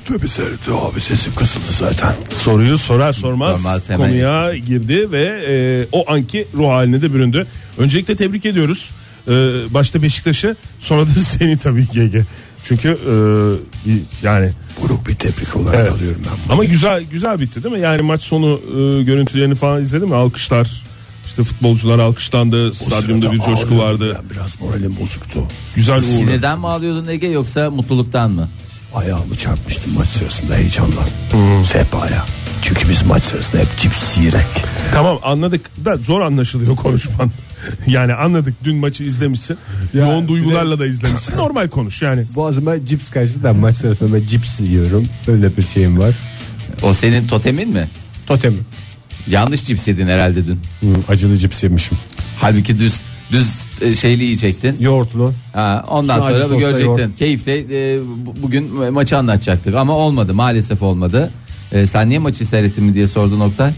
C: Tabii seyretti abi sesim kısıldı zaten.
D: Soruyu sorar sormaz,
E: Sormaz, hemen
D: konuya girdi ve e, o anki ruh haline de büründü. Öncelikle tebrik ediyoruz. E, başta Beşiktaş'ı sonra da seni tabii ki Ege. Çünkü e, bir- yani
C: Buruk bir tebrik olarak
D: Evet.
C: alıyorum ben.
D: ama güzel güzel bitti değil mi? Yani maç sonu e, görüntülerini falan izledin mi? Alkışlar işte futbolcular alkışlandı. Stadyumda bir coşku vardı.
C: Biraz moralim bozuktu.
D: Güzel uğurlu.
E: Sinirden mi ağlıyordun Ege yoksa mutluluktan mı?
C: Ayağımı çarpmıştım maç sırasında heyecanla. Hmm. Sehpaya. Çünkü biz maç sırasında hep cips yiyerek.
D: Tamam anladık da zor anlaşılıyor konuşman. Yani anladık dün maçı izlemişsin. yoğun duygularla da izlemişsin. Normal konuş yani.
C: Boğazıma cips kaçtı da maç sırasında ben cips yiyorum. Öyle bir şeyim var.
E: O senin totemin mi?
C: Totem.
E: Yanlış cips yedin herhalde dün.
C: Hmm, acılı cips yemişim.
E: Halbuki düz düz e, şeyli yiyecektin.
C: Yoğurtlu.
E: Ha, ondan
C: Şu acı
E: sonra bu
C: sosla
E: görecektin.
C: yoğurt.
E: Keyifle e, bu- bugün maçı anlatacaktık ama olmadı maalesef olmadı. E, sen niye maçı seyrettin mi diye sordu nokta.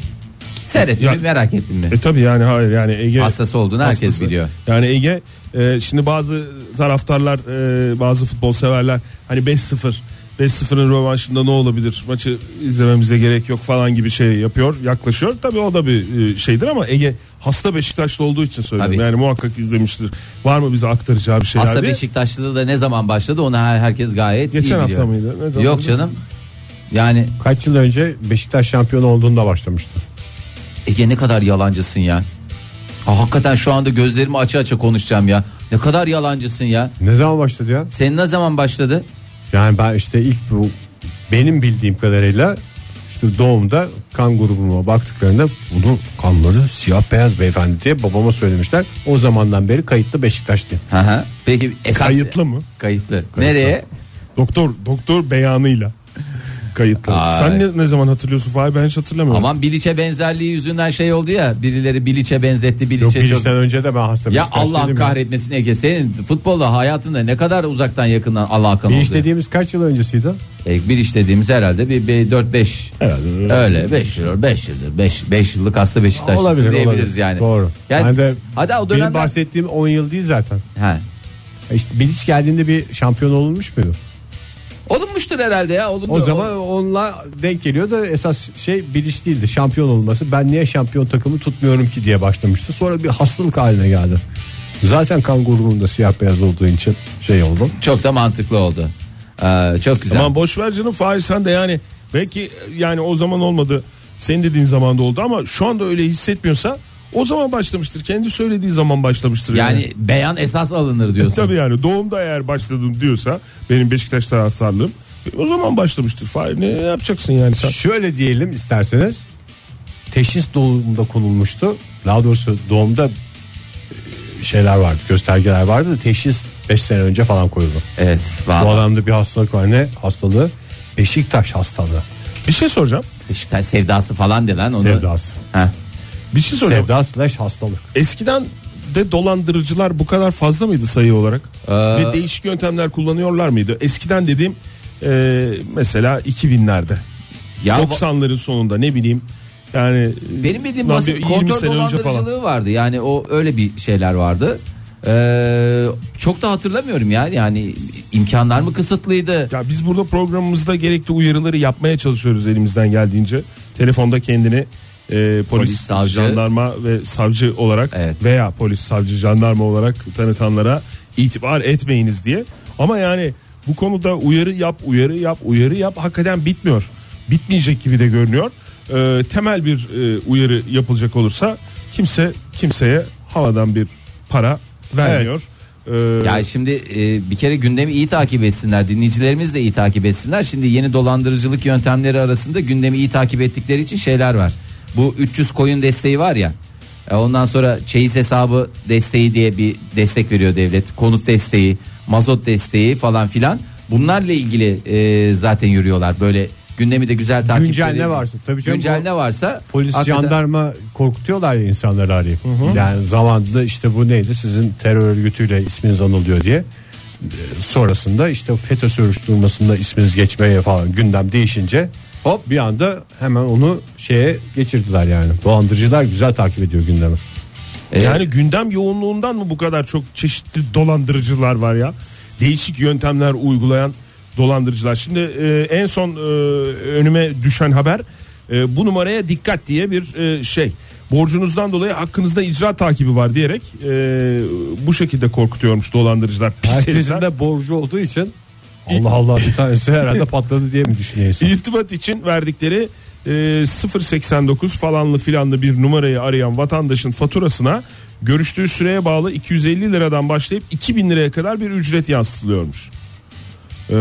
E: Seyrettim
D: Ya-
E: mi, merak ettim mi?
D: E tabi yani hayır yani Ege
E: Hastası olduğunu herkes
D: hastası.
E: biliyor.
D: Yani Ege e, şimdi bazı taraftarlar e, bazı futbol severler hani 5-0 5-0'ın rövanşında ne olabilir maçı izlememize gerek yok falan gibi şey yapıyor yaklaşıyor tabi o da bir e, şeydir ama Ege hasta Beşiktaşlı olduğu için söylüyorum
E: Tabii.
D: yani muhakkak izlemiştir var mı bize aktaracağı bir şeyler
E: Hasta
D: diye.
E: Beşiktaşlılığı da ne zaman başladı onu her- herkes gayet iyi
D: Geçen
E: biliyor.
D: hafta mıydı? Ne zaman?
E: Yok canım. Yani
C: Kaç yıl önce Beşiktaş şampiyon olduğunda başlamıştı.
E: Ege ne kadar yalancısın ya. Ha, hakikaten şu anda gözlerimi açı açı konuşacağım ya. Ne kadar yalancısın ya.
C: Ne zaman başladı ya?
E: Senin ne zaman başladı?
C: Yani ben işte ilk bu benim bildiğim kadarıyla işte doğumda kan grubuma baktıklarında bunu kanları siyah beyaz beyefendi diye babama söylemişler. O zamandan beri kayıtlı Beşiktaş'tı.
E: Hı hı. Peki esas
D: Kayıtlı mı?
E: Kayıtlı. Nereye?
D: Doktor doktor beyanıyla kayıtlı.
E: Ay.
D: Sen ne, ne zaman hatırlıyorsun Fahir ben hiç hatırlamıyorum.
E: Aman Biliç'e benzerliği yüzünden şey oldu ya. Birileri Biliç'e benzetti.
C: Yok
E: Biliç'e
C: bir
E: Şey, çok-
C: işten önce de ben hasta
E: Ya
C: Beşiktaşlıydım
E: Allah kahretmesin Ege. Senin futbolla hayatında ne kadar uzaktan yakından Allah'a
C: Bir
E: oldu.
C: iş dediğimiz kaç yıl öncesiydi?
E: E, bir iş dediğimiz herhalde bir, bir 4-5.
D: Herhalde.
E: Öyle 5 yıl 5 yıldır 5 5 yıllık hasta Beşiktaşlısı
C: Olabilir,
E: diyebiliriz
C: olabilir.
E: yani.
C: Doğru.
E: Yani
C: Ben de
E: hadi o
C: Benim
E: dönemde
C: bahsettiğim 10 yıl değil zaten.
E: He.
C: E İşte Bilic geldiğinde bir şampiyon olunmuş muydu?
E: Olunmuştur herhalde ya. Olundu.
C: O zaman onunla denk geliyor da esas şey Bilic değildi. Şampiyon olması. Ben niye şampiyon takımı tutmuyorum ki diye başlamıştı. Sonra bir hastalık haline geldi. Zaten kan grubum da siyah beyaz olduğu için şey oldu.
E: çok da mantıklı oldu. Ee, çok güzel.
D: Aman boş ver canım Fahir sen de yani belki yani o zaman olmadı. Senin dediğin zaman da oldu ama şu anda öyle hissetmiyorsa o zaman başlamıştır. Kendi söylediği zaman başlamıştır.
E: yani beyan esas alınır diyorsun.
D: Tabii yani doğumda eğer başladım diyorsa benim Beşiktaş taraftarlığım o zaman başlamıştır. Fahir ne yapacaksın yani sen?
C: Şöyle diyelim isterseniz. Teşhis doğumda konulmuştu. Daha doğrusu doğumda e, şeyler vardı göstergeler vardı da teşhis 5 sene önce falan koyuldu.
E: Evet.
C: Bu
E: Vallahi.
C: adamda bir hastalık var ne hastalığı? Beşiktaş hastalığı
D: Bir şey soracağım.
E: Beşiktaş sevdası falan de lan onu.
C: sevdası.
E: Heh.
D: Bir şey soracağım.
C: Sevda slash hastalık.
D: Eskiden de dolandırıcılar bu kadar fazla mıydı sayı olarak? Ve değişik yöntemler kullanıyorlar mıydı? Eskiden dediğim e, mesela 2000'lerde.
E: Ya
D: 90'ların sonunda ne bileyim yani
E: bu- benim bildiğim
D: Lan
E: basit
D: bir 20
E: kontör
D: sene önce falan.
E: dolandırıcılığı vardı. Yani o öyle bir şeyler vardı. Ee, çok da hatırlamıyorum ya. Yani imkanlar mı kısıtlıydı?
D: ya biz burada programımızda gerekli uyarıları yapmaya çalışıyoruz elimizden geldiğince. Telefonda kendini e, polis,
E: Polis, savcı.
D: jandarma ve savcı olarak
E: Evet.
D: veya polis, savcı, jandarma olarak tanıtanlara itibar etmeyiniz diye. Ama yani bu konuda uyarı yap, uyarı yap, uyarı yap hakikaten bitmiyor. Bitmeyecek gibi de görünüyor. E, temel bir e, uyarı yapılacak olursa kimse kimseye havadan bir para vermiyor. E,
E: Ya şimdi e, bir kere gündemi iyi takip etsinler. Dinleyicilerimiz de iyi takip etsinler. Şimdi yeni dolandırıcılık yöntemleri arasında gündemi iyi takip ettikleri için şeyler var. Bu 300 koyun desteği var ya. e, ondan sonra çeyiz hesabı desteği diye bir destek veriyor devlet. Konut desteği, mazot desteği falan filan. Bunlarla ilgili e, zaten yürüyorlar. Böyle gündemi de güzel takip
C: Güncel
E: edelim.
C: ne varsa, tabii canım
E: Güncel
C: bu
E: ne varsa
C: Polis
E: hakikaten-
C: jandarma korkutuyorlar ya insanları arayıp. Yani zamanında işte bu neydi sizin terör örgütüyle isminiz anılıyor diye. Ee, Sonrasında işte FETÖ soruşturmasında isminiz geçmeye falan gündem değişince
E: Hop.
C: hop bir anda hemen onu şeye geçirdiler yani. Dolandırıcılar güzel takip ediyor gündemi.
E: E,
D: Yani gündem yoğunluğundan mı bu kadar çok çeşitli dolandırıcılar var ya? Değişik yöntemler uygulayan dolandırıcılar. Şimdi e, en son e, önüme düşen haber e, bu numaraya dikkat diye bir e, şey. Borcunuzdan dolayı hakkınızda icra takibi var diyerek e, bu şekilde korkutuyormuş dolandırıcılar. Pis herifler.
C: Herkesin de borcu olduğu için Allah Allah bir tanesi herhalde patladı diye mi düşünüyor insan?
D: İltibat için verdikleri e, 089 falanlı filanlı bir numarayı arayan vatandaşın faturasına görüştüğü süreye bağlı 250 liradan başlayıp 2000 liraya kadar bir ücret yansıtılıyormuş. E,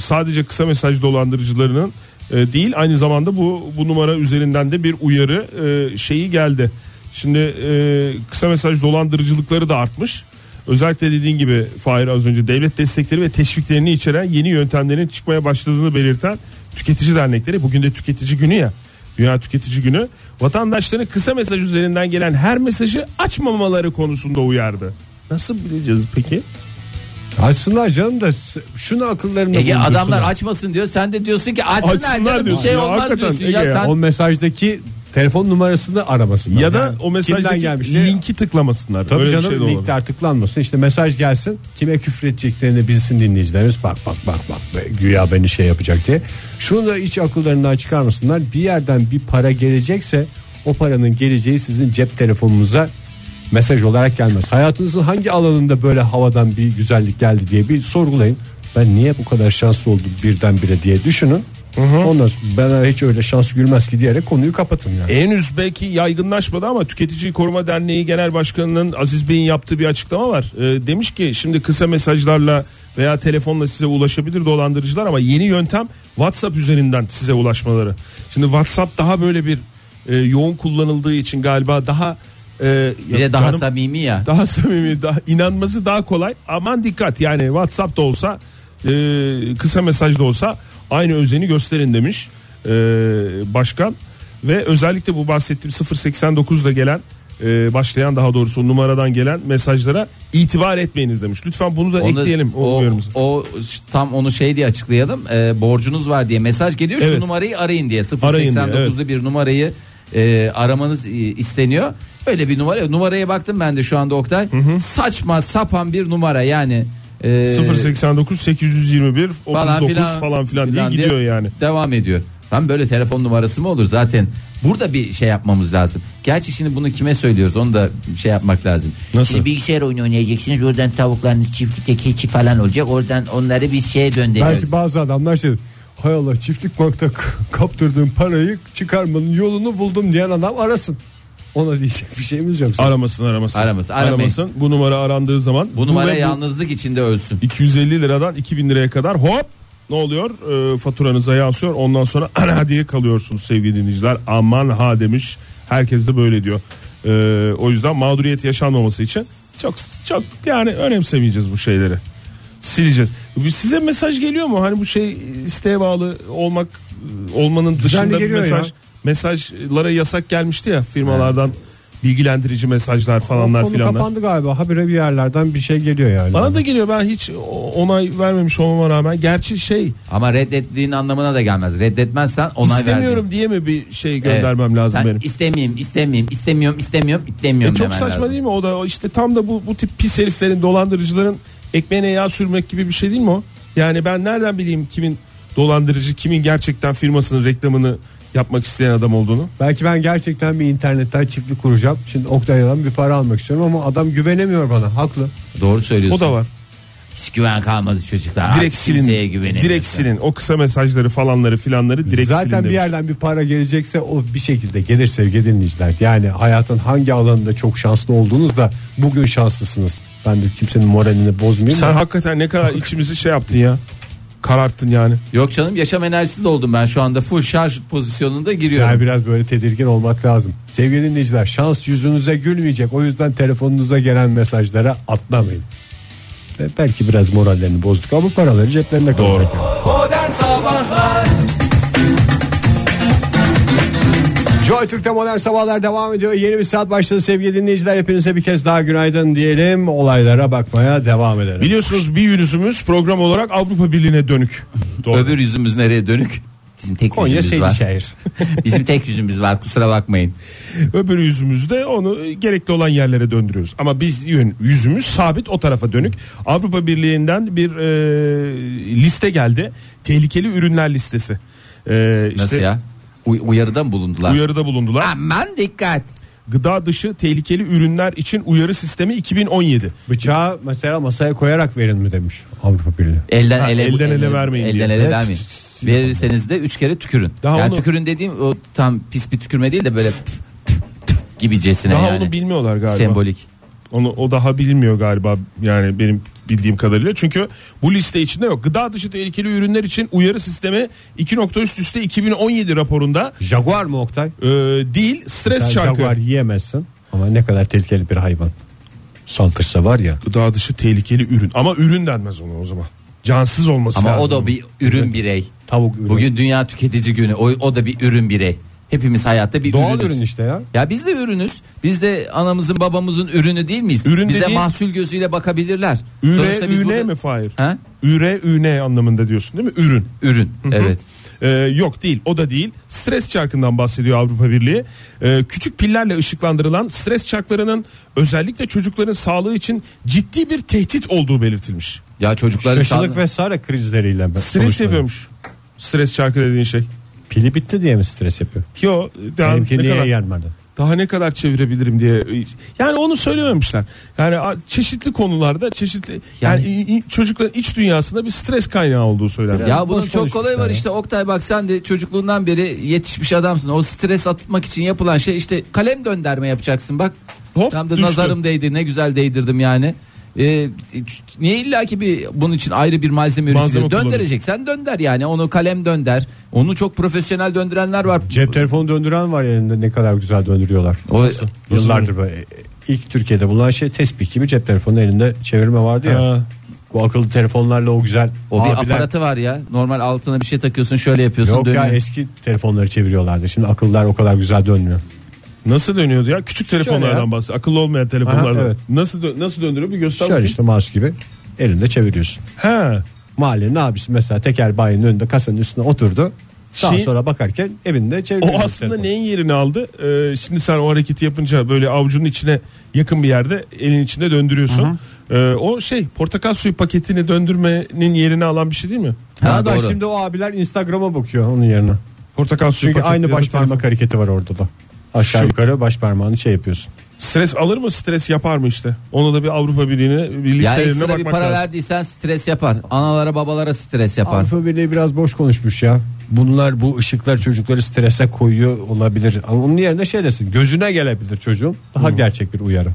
D: sadece kısa mesaj dolandırıcılarının e, değil aynı zamanda bu bu numara üzerinden de bir uyarı e, şeyi geldi. Şimdi e, kısa mesaj dolandırıcılıkları da artmış. Özellikle dediğin gibi Fahir az önce devlet destekleri ve teşviklerini içeren yeni yöntemlerin çıkmaya başladığını belirten tüketici dernekleri bugün de tüketici günü ya Dünya Tüketici Günü vatandaşların kısa mesaj üzerinden gelen her mesajı açmamaları konusunda uyardı. Nasıl bileceğiz peki?
C: Açsınlar canım da şunu akıllarında
E: Ege
C: bulundursunlar.
E: adamlar açmasın diyor. Sen de diyorsun ki açsınlar,
D: Açsınlar
E: canım, bir
D: diyorsun
E: şey
D: ya,
E: olmaz
D: hakikaten
E: diyorsun.
D: Ege
E: ya
D: ya.
E: sen
C: O mesajdaki Telefon numarasını aramasınlar.
D: Ya da
C: Yani
D: o
C: kimden
D: mesajdaki
C: gelmiş diye-
D: linki tıklamasınlar.
C: Tabii
D: Öyle bir
C: canım
D: şey de olabilir.
C: linkler tıklanmasın. İşte mesaj gelsin. Kime küfür edeceklerini bilsin dinleyicilerimiz. Bak bak bak bak. be, Güya beni şey yapacak diye. Şunu da hiç akıllarından çıkarmasınlar. Bir yerden bir para gelecekse o paranın geleceği sizin cep telefonunuza mesaj olarak gelmez. Hayatınızın hangi alanında böyle havadan bir güzellik geldi diye bir sorgulayın. Ben niye bu kadar şanslı oldum birdenbire diye düşünün. Ondan sonra bana hiç öyle şans gülmez ki diyerek konuyu kapatın yani.
D: Henüz belki yaygınlaşmadı ama Tüketici Koruma Derneği Genel Başkanı'nın Aziz Bey'in yaptığı bir açıklama var. Ee, demiş ki şimdi kısa mesajlarla veya telefonla size ulaşabilir dolandırıcılar ama yeni yöntem WhatsApp üzerinden size ulaşmaları. Şimdi WhatsApp daha böyle bir e, yoğun kullanıldığı için galiba daha e,
E: Bir
D: ya
E: de daha
D: canım-
E: samimi ya.
D: daha samimi, daha inanması daha kolay. Aman dikkat yani WhatsApp da olsa, e, kısa mesaj da olsa aynı özeni gösterin demiş e, başkan. Ve özellikle bu bahsettiğim 089'da gelen e, başlayan daha doğrusu numaradan gelen mesajlara itibar etmeyiniz demiş. Lütfen bunu da
E: Onu-
D: ekleyelim o,
E: o,
D: uyarımıza.
E: o ş- tam onu şey diye açıklayalım. Ee, borcunuz var diye mesaj geliyor. Şu
D: Evet.
E: numarayı arayın diye.
D: Arayın diye,
E: 089'da bir numarayı e, aramanız e, isteniyor. Öyle bir numara. Numaraya baktım ben de şu anda Oktay. Saçma sapan bir numara yani. E,
D: 089 821 39 falan filan, diye gidiyor yani.
E: Devam ediyor. Tam böyle telefon numarası mı olur zaten? Burada bir şey yapmamız lazım. Gerçi şimdi bunu kime söylüyoruz onu da şey yapmak lazım.
D: Nasıl?
E: Şimdi bilgisayar oyunu oynayacaksınız. Oradan tavuklarınız çiftlikte keçi falan olacak. Oradan onları bir şeye döndürüyoruz.
C: Belki bazı adamlar şey Hay Allah çiftlik bankta k- kaptırdığım parayı çıkarmanın yolunu buldum diyen adam arasın. Ona diyecek bir şeyimiz yok. zaten.
D: Aramasın aramasın.
E: Aramasın, aramayın.
D: Aramasın. Bu numara arandığı zaman
E: Bu numara
D: ve
E: yalnızlık içinde ölsün.
D: 250 liradan 2000 liraya kadar hop ne oluyor Ee, faturanıza yansıyor ondan sonra ana diye kalıyorsunuz sevgili dinleyiciler aman ha demiş herkes de böyle diyor Ee, o yüzden mağduriyet yaşanmaması için çok çok yani önemsemeyeceğiz bu şeyleri sileceğiz size mesaj geliyor mu hani bu şey isteğe bağlı olmak e, olmanın dışında bir
C: geliyor
D: mesaj
C: ya.
D: mesajlara yasak gelmişti ya firmalardan bilgilendirici mesajlar falanlar
C: Konu
D: filanlar
C: kapandı galiba. Habire bir yerlerden bir şey geliyor yani.
D: bana da geliyor ben hiç onay vermemiş olmama rağmen. Gerçi şey
E: Ama reddettiğin anlamına da gelmez. Reddetmezsen onay
D: istemiyorum
E: verdiğin.
D: diye mi bir şey
E: Evet.
D: göndermem lazım
E: Sen
D: benim.
E: İstemeyeyim, istemeyeyim, istemiyorum, istemiyorum, istemiyorum.
D: E çok
E: demen
D: saçma
E: lazım.
D: değil mi o da o işte tam da bu bu tip pis heriflerin dolandırıcıların ekmeğine yağ sürmek gibi bir şey değil mi o? Yani ben nereden bileyim kimin dolandırıcı kimin gerçekten firmasının reklamını yapmak isteyen adam olduğunu.
C: Belki ben gerçekten bir internetten çiftlik kuracağım. Şimdi Oktay'dan bir para almak istiyorum ama adam güvenemiyor bana. Haklı.
E: Doğru söylüyorsun.
D: O da var.
E: Hiç güven kalmadı çocuklar.
D: Direkt silin.
E: güvenin.
D: Direkt silin. O kısa mesajları falanları filanları direkt
C: Zaten
D: silin.
C: bir
D: demiş.
C: yerden bir para gelecekse o bir şekilde gelir sevgili dinleyiciler. Yani hayatın hangi alanında çok şanslı olduğunuz da bugün şanslısınız. Ben de kimsenin moralini bozmayayım.
D: Sen
C: da.
D: hakikaten ne kadar içimizi şey yaptın ya. Kararttın yani.
E: Yok canım yaşam enerjisi de oldum ben şu anda full şarj pozisyonunda giriyorum.
C: Yani biraz böyle tedirgin olmak lazım. Sevgili dinleyiciler şans yüzünüze gülmeyecek. O yüzden telefonunuza gelen mesajlara atlamayın. Ve belki biraz morallerini bozduk ama paraları ceplerine kalacak.
B: Modern Sabahlar
C: Joy Türk'te modern sabahlar devam ediyor. Yeni bir saat başladı sevgili dinleyiciler. Hepinize bir kez daha günaydın diyelim. Olaylara bakmaya devam edelim.
D: Biliyorsunuz bir virüsümüz program olarak Avrupa Birliği'ne dönük.
E: Öbür yüzümüz nereye dönük? Bizim tek
C: Konya
D: şey
E: yüzümüz var.
C: Seydişehir.
E: Bizim tek yüzümüz var kusura bakmayın.
D: Öbür yüzümüzde onu e, gerekli olan yerlere döndürüyoruz. Ama biz yön- yüzümüz sabit o tarafa dönük. Avrupa Birliği'nden bir e, liste geldi. Tehlikeli ürünler listesi. E, işte
E: Nasıl ya? Uy- uyarıda mı bulundular?
D: Uyarıda bulundular.
E: Aman dikkat.
D: Gıda dışı tehlikeli ürünler için uyarı sistemi 2017.
C: Bıçağı mesela masaya koyarak verin mi demiş Avrupa Birliği.
E: Elden
D: Ha,
E: ele
D: elden ele vermeyin
E: Elden
D: diye.
E: ele
D: Evet.
E: vermeyin. Verirseniz de üç kere tükürün.
D: Daha
E: yani
D: onu-
E: tükürün dediğim o tam pis bir tükürme değil de böyle tıf tıf tıf gibicesine
D: Daha
E: yani.
D: onu bilmiyorlar galiba.
E: Sembolik.
D: Onu o daha bilmiyor galiba yani benim bildiğim kadarıyla. Çünkü bu liste içinde yok. Gıda dışı tehlikeli ürünler için uyarı sistemi 2. üst üste 2017 raporunda
C: Jaguar mı Oktay?
D: e, değil stres
C: Sen
D: çarkı.
C: jaguar yiyemezsin ama ne kadar tehlikeli bir hayvan. Saldırsa var ya.
D: Gıda dışı tehlikeli ürün ama ürün denmez ona o zaman. Cansız olması
E: Ama
D: lazım.
E: o da bir ürün birey.
C: Tavuk ürün.
E: Bugün dünya tüketici günü. O, o da bir ürün birey. Hepimiz hayatta bir
C: Doğal
E: ürünüz.
C: ürün işte ya.
E: Ya biz de ürünüz. Biz de anamızın babamızın ürünü değil miyiz?
D: Ürün
E: Bize
D: dediğin-
E: mahsul gözüyle bakabilirler.
D: Üre,
E: Sonuçta biz
D: üne
E: burada-
D: mi Fahir?
E: Ha?
D: Üre, üne anlamında diyorsun değil mi? Ürün.
E: Ürün. Evet.
D: Ee, yok değil o da değil. Stres çarkından bahsediyor Avrupa Birliği. Ee, küçük pillerle ışıklandırılan stres çarklarının özellikle çocukların sağlığı için ciddi bir tehdit olduğu belirtilmiş.
E: Ya çocukların
C: Şaşılık
E: sağlığı.
C: vesaire krizleriyle. ben-
D: Stres
C: sonuçlanıyor.
D: yapıyormuş. Stres çarkı dediğin şey.
C: Pili bitti diye mi stres yapıyor?
D: Yo daha ne
C: Benimki niye
D: kadar
C: yenmedi?
D: daha ne kadar çevirebilirim diye. Yani onu söylememişler. Yani a- çeşitli konularda çeşitli yani, i- i- çocukların iç dünyasında bir stres kaynağı olduğu söylenmiş.
E: Ya bunun
C: boş
E: çok kolay
C: konuşmuşlar
E: var
C: ya.
E: işte Oktay bak sen de çocukluğundan beri yetişmiş adamsın. O stres atmak için yapılan şey işte kalem dönderme yapacaksın bak.
D: Hop,
E: Tam da
D: düştü.
E: nazarım değdi ne güzel değdirdim yani. Ee, niye illa ki bir bunun için ayrı bir malzeme
D: Malzeme
E: üretiliyor? Döndürecek. Sen dönder yani onu kalem dönder. Onu çok profesyonel döndürenler var.
C: Cep telefonu döndüren var elinde ne kadar güzel döndürüyorlar.
E: O-
C: Yıllardır böyle e, ilk Türkiye'de bulunan şey tespih gibi cep telefonu elinde çevirme vardı ya.
D: Ha.
C: Bu akıllı telefonlarla o güzel
E: O bir
C: abiler-
E: aparatı var ya. Normal altına bir şey takıyorsun şöyle yapıyorsun
C: Yok
E: dönüyor.
C: ya eski telefonları çeviriyorlardı. Şimdi akıllılar o kadar güzel dönmüyor.
D: Nasıl dönüyordu ya? Küçük
C: Şöyle
D: telefonlardan
C: ya.
D: bahsediyor. Akıllı olmayan telefonlardan.
C: Aha, evet.
D: Nasıl dö- nasıl döndürüyor bir göster.
C: Şöyle
D: bakayım.
C: işte mouse gibi elinde çeviriyorsun.
D: Ha.
C: Mahallenin abisi mesela tekel bayinin önünde kasanın üstüne oturdu. Daha
D: Şey-
C: sonra bakarken evinde çeviriyor.
D: O aslında
C: telefonu.
D: neyin yerini aldı? Ee, şimdi sen o hareketi yapınca böyle avucunun içine yakın bir yerde elin içinde döndürüyorsun. Ee, o şey portakal suyu paketini döndürmenin yerini alan bir şey değil mi?
E: Ha,
C: Ha, ben
E: doğru.
C: şimdi o abiler Instagram'a bakıyor onun yerine.
D: Portakal suyu
C: Çünkü
D: paketi ya
C: aynı
D: da
C: baş
D: telefon.
C: parmak hareketi var orada da. Aşağı
D: Şu-
C: yukarı baş parmağını şey yapıyorsun.
D: Stres alır mı? Stres yapar mı işte? Ona da bir Avrupa Birliği'ne bir
E: Ya
D: listelerine
E: ekstra bir
D: bakmak
E: para
D: lazım.
E: verdiysen stres yapar. Analara babalara stres yapar.
C: Avrupa Birliği biraz boş konuşmuş ya. Bunlar bu ışıklar çocukları strese koyuyor olabilir. Ama onun yerine şey desin gözüne gelebilir çocuğun. Daha gerçek bir uyarı.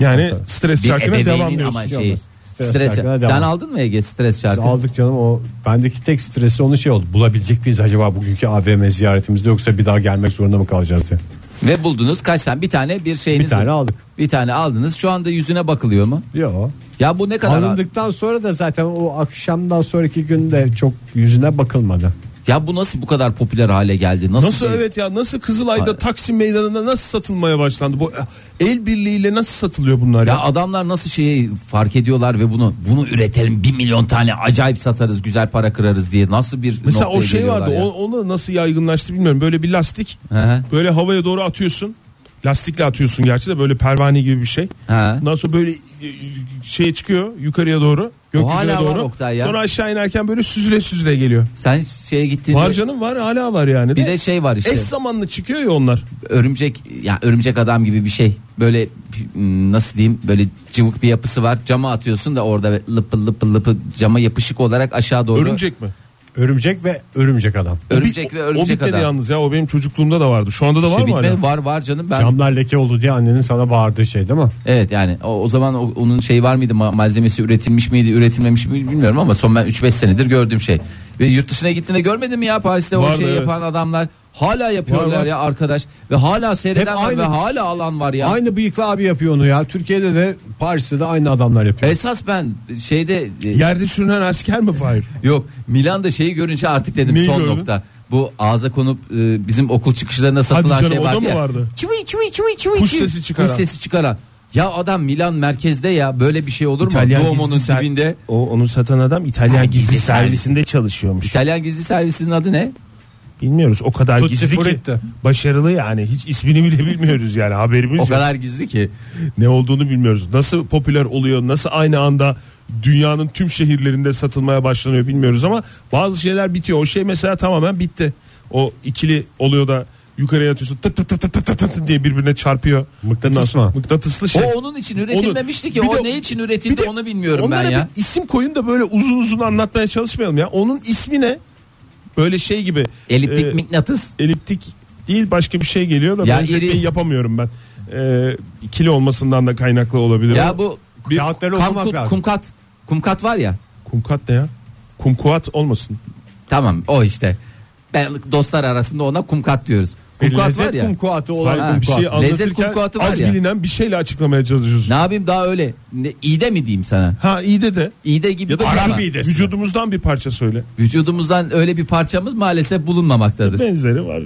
D: Yani stres
E: bir
D: çarkına devam
E: ebeveynin
D: diyorsun.
E: ama şeyi.
C: Stres
E: Stres,
C: şarkına
E: Sen
C: devam.
E: aldın mı Ege stres şarkı?
C: Aldık canım o bendeki tek stresi onun şey oldu. Bulabilecek miyiz acaba bugünkü AVM ziyaretimizde yoksa bir daha gelmek zorunda mı kalacağız diye.
E: Ve buldunuz kaç tane? Bir tane bir şeyiniz.
C: Bir tane aldık.
E: Bir tane aldınız. Şu anda yüzüne bakılıyor mu?
C: Yo.
E: Ya bu ne kadar?
C: Alındıktan sonra da zaten o akşamdan sonraki günde çok yüzüne bakılmadı.
E: Ya bu nasıl bu kadar popüler hale geldi? Nasıl?
D: Nasıl
E: bir-
D: evet ya nasıl Kızılay'da Taksim Meydanı'nda nasıl satılmaya başlandı? Bu e, el birliğiyle nasıl satılıyor bunlar ya?
E: Ya adamlar nasıl şeyi fark ediyorlar ve bunu bunu üretelim bir milyon tane acayip satarız güzel para kırarız diye nasıl bir
D: Mesela
E: noktaya
D: o şey
E: geliyorlar
D: vardı.
E: ya?
D: O, onu nasıl yaygınlaştı bilmiyorum. Böyle bir lastik.
E: Hı hı.
D: Böyle havaya doğru atıyorsun. Lastikle atıyorsun gerçi de böyle pervane gibi bir şey.
E: Ha.
D: Ondan sonra böyle e, şeye çıkıyor yukarıya doğru, gökyüzüne
E: hala var
D: doğru.
E: Oktay ya.
D: Sonra aşağı inerken böyle süzüle süzüle geliyor.
E: Sen şeye gittiğinde
D: Var canım var, hala var yani.
E: bir de şey var işte.
D: eş zamanlı çıkıyor ya onlar.
E: örümcek ya örümcek adam gibi bir şey böyle m, nasıl diyeyim böyle cıvık bir yapısı var cama atıyorsun da orada lıpı lıpı lıpı cama yapışık olarak aşağı doğru
D: Örümcek mi?
C: Örümcek ve örümcek adam.
D: O
E: Örümcek
D: bit-
E: ve
D: O
E: örümcek
D: bitmedi
E: adam.
D: yalnız ya. O benim çocukluğumda da vardı. Şu anda da
E: Şu
D: var mı
E: şey bitme-
D: hala?
E: var var canım ben
C: Camlar leke oldu diye annenin sana bağırdığı şey değil mi?
E: evet yani o, o zaman o- onun şey var mıydı ma- malzemesi üretilmiş miydi üretilmemiş mi bilmiyorum ama son ben 3-5 senedir gördüğüm şey. Ve yurt dışına gittiğinde görmedin mi ya Paris'te o
D: Vardı,
E: şeyi
D: evet.
E: yapan adamlar hala yapıyorlar
D: Var, var.
E: ya arkadaş ve hala seyreden
C: Hep
E: var
C: aynı-
E: ve hala alan var ya.
C: Aynı bıyıklı abi yapıyor onu ya. Türkiye'de de Paris'te de aynı adamlar yapıyor.
E: Esas ben şeyde e,
D: Yerde sürünen asker mi Fahir?
E: Yok Milan'da şeyi görünce artık dedim
D: Neyi
E: son
D: gördün?
E: nokta. Bu ağza konup e, bizim okul çıkışlarında satılan
D: canım,
E: şey
D: o da
E: vardı
D: mı
E: ya.
D: vardı?
E: Çivi çivi çivi çivi.
D: Kuş
E: çivi.
D: sesi çıkaran.
E: Kuş sesi çıkaran. Ya adam Milan merkezde ya böyle bir şey olur mu? Duomo'nun
F: ser-
E: dibinde.
F: O onu satan adam İtalyan
E: Ha,
F: gizli,
E: gizli
F: servisinde çalışıyormuş.
E: İtalyan gizli servisinin adı ne?
F: Bilmiyoruz o kadar
C: Tutti
F: gizli
C: Frutti.
F: ki başarılı yani hiç ismini bile bilmiyoruz yani haberimiz
E: O
F: yok.
E: kadar gizli ki.
D: ne olduğunu bilmiyoruz. Nasıl popüler oluyor, nasıl aynı anda dünyanın tüm şehirlerinde satılmaya başlanıyor bilmiyoruz ama bazı şeyler bitiyor. O şey mesela tamamen bitti. O ikili oluyor da yukarıya atıyorsun tık tık tık tık tık tık tık diye birbirine çarpıyor.
C: Mıknatıs
D: Ondan sonra-
C: mı?
D: Mıknatıslı şey.
E: O onun için üretilmemişti ki.
D: Bir
E: O
D: de-
E: ne için
D: Bir
E: üretildi
D: de
E: onu bilmiyorum ben
D: onlara
E: ya.
D: bir isim koyun da böyle uzun uzun anlatmaya çalışmayalım ya. Onun ismi ne? Böyle şey gibi.
E: Eliptik
D: e,
E: mıknatıs.
D: eliptik değil başka bir şey geliyor da
E: Ya
D: benzetmeyi
E: iri-
D: yapamıyorum ben. Ee, ikili olmasından da kaynaklı olabilir.
E: Ya bu
D: bir
C: Kağıtları okumak
E: kumkut,
C: lazım.
E: kumkat. Kumkat var ya.
D: kumkat ne ya? Kumkuat olmasın.
E: Tamam o işte. Ben dostlar arasında ona kumkat diyoruz.
C: Bir
E: Kumkat var
C: lezzet
E: ya.
C: kumkuatı olan
E: Ha,
D: bir
C: kumkuat.
D: şey
E: Lezzet
D: anlatırken
E: kumkuatı var
D: az
E: ya.
D: bilinen bir şeyle açıklamaya çalışıyoruz.
E: Ne yapayım daha öyle. Ne, iyi de mi diyeyim sana?
D: Ha iyi de de.
E: İyi de gibi.
D: Ya da
E: Arap
D: vücut-
E: iğdesi.
D: vücudumuzdan bir parça söyle.
E: Vücudumuzdan öyle bir parçamız maalesef bulunmamaktadır.
D: Benzeri var.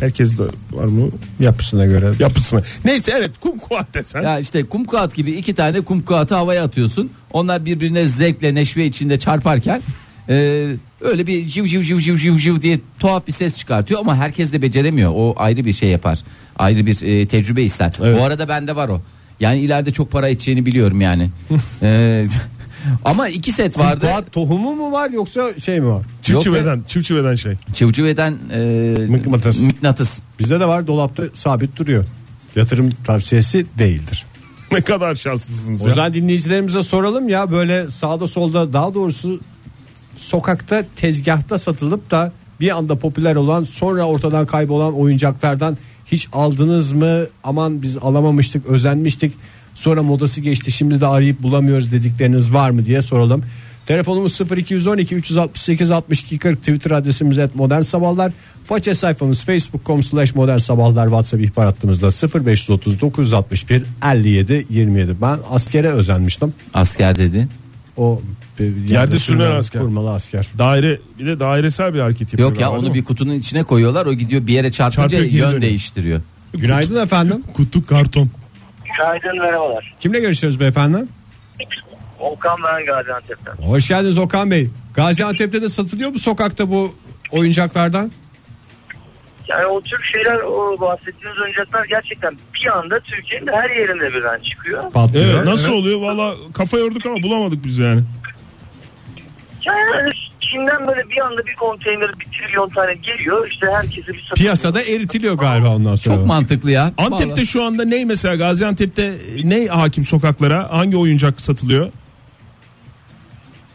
D: Herkes de var mı
C: Yapısına göre.
D: yapısına. Neyse evet kumkuat desen.
E: Ya işte kum kağıt gibi iki tane kum kağıtı havaya atıyorsun. Onlar birbirine zevkle neşve içinde çarparken Ee, öyle bir jiv jiv jiv jiv jiv jiv diye tuhaf bir ses çıkartıyor ama herkes de beceremiyor. O ayrı bir şey yapar. Ayrı bir e, tecrübe ister. Bu arada bende var o. Yani ileride çok para edeceğini biliyorum yani. Ee, ama iki set vardı.
C: Kuat tohumu mu var yoksa şey mi var?
F: Çivçiveden, çivçiveden şey.
E: Çivciveden e,
C: Mıknatıs.
E: mıknatıs.
C: Bizde de var dolapta sabit duruyor. Yatırım tavsiyesi değildir.
F: Ne kadar şanslısınız
C: O
F: ya.
C: zaman dinleyicilerimize soralım ya böyle sağda solda daha doğrusu sokakta tezgahta satılıp da bir anda popüler olan sonra ortadan kaybolan oyuncaklardan hiç aldınız mı? Aman biz alamamıştık, özenmiştik. Sonra modası geçti. Şimdi de arayıp bulamıyoruz dedikleriniz var mı diye soralım. Telefonumuz 0212 368 62 40 Twitter adresimiz et modern sabahlar. Faça sayfamız facebook.com slash modern sabahlar WhatsApp ihbar hattımızda 0530 961 57 27. Ben askere özenmiştim.
E: Asker dedi.
C: O e, yerde,
F: sürünen asker.
C: Kurmalı asker.
F: Daire bir de dairesel bir hareket yapıyor.
E: Yok ya onu bir kutunun içine koyuyorlar. O gidiyor bir yere çarpınca
F: Çarpıyor, geri
E: yön
F: dönüyor.
E: değiştiriyor.
C: Günaydın efendim.
F: kutu karton.
G: Günaydın merhabalar.
C: Kimle görüşüyoruz beyefendi?
G: Okan ben Gaziantep'ten.
C: Hoş geldiniz Okan Bey. Gaziantep'te de satılıyor mu sokakta bu oyuncaklardan?
G: Yani o tür şeyler o bahsettiğiniz oyuncaklar gerçekten bir anda Türkiye'nin her yerinde birden çıkıyor.
C: Patlıyor.
F: Evet, nasıl oluyor valla kafa yorduk ama bulamadık biz yani.
G: Yani Çin'den böyle bir anda bir konteyner bir trilyon tane geliyor. İşte herkese bir satıyor.
C: Piyasada eritiliyor galiba ondan sonra.
E: Çok mantıklı ya.
F: Antep'te
E: Vallahi.
F: şu anda ne mesela Gaziantep'te ne hakim sokaklara hangi oyuncak satılıyor?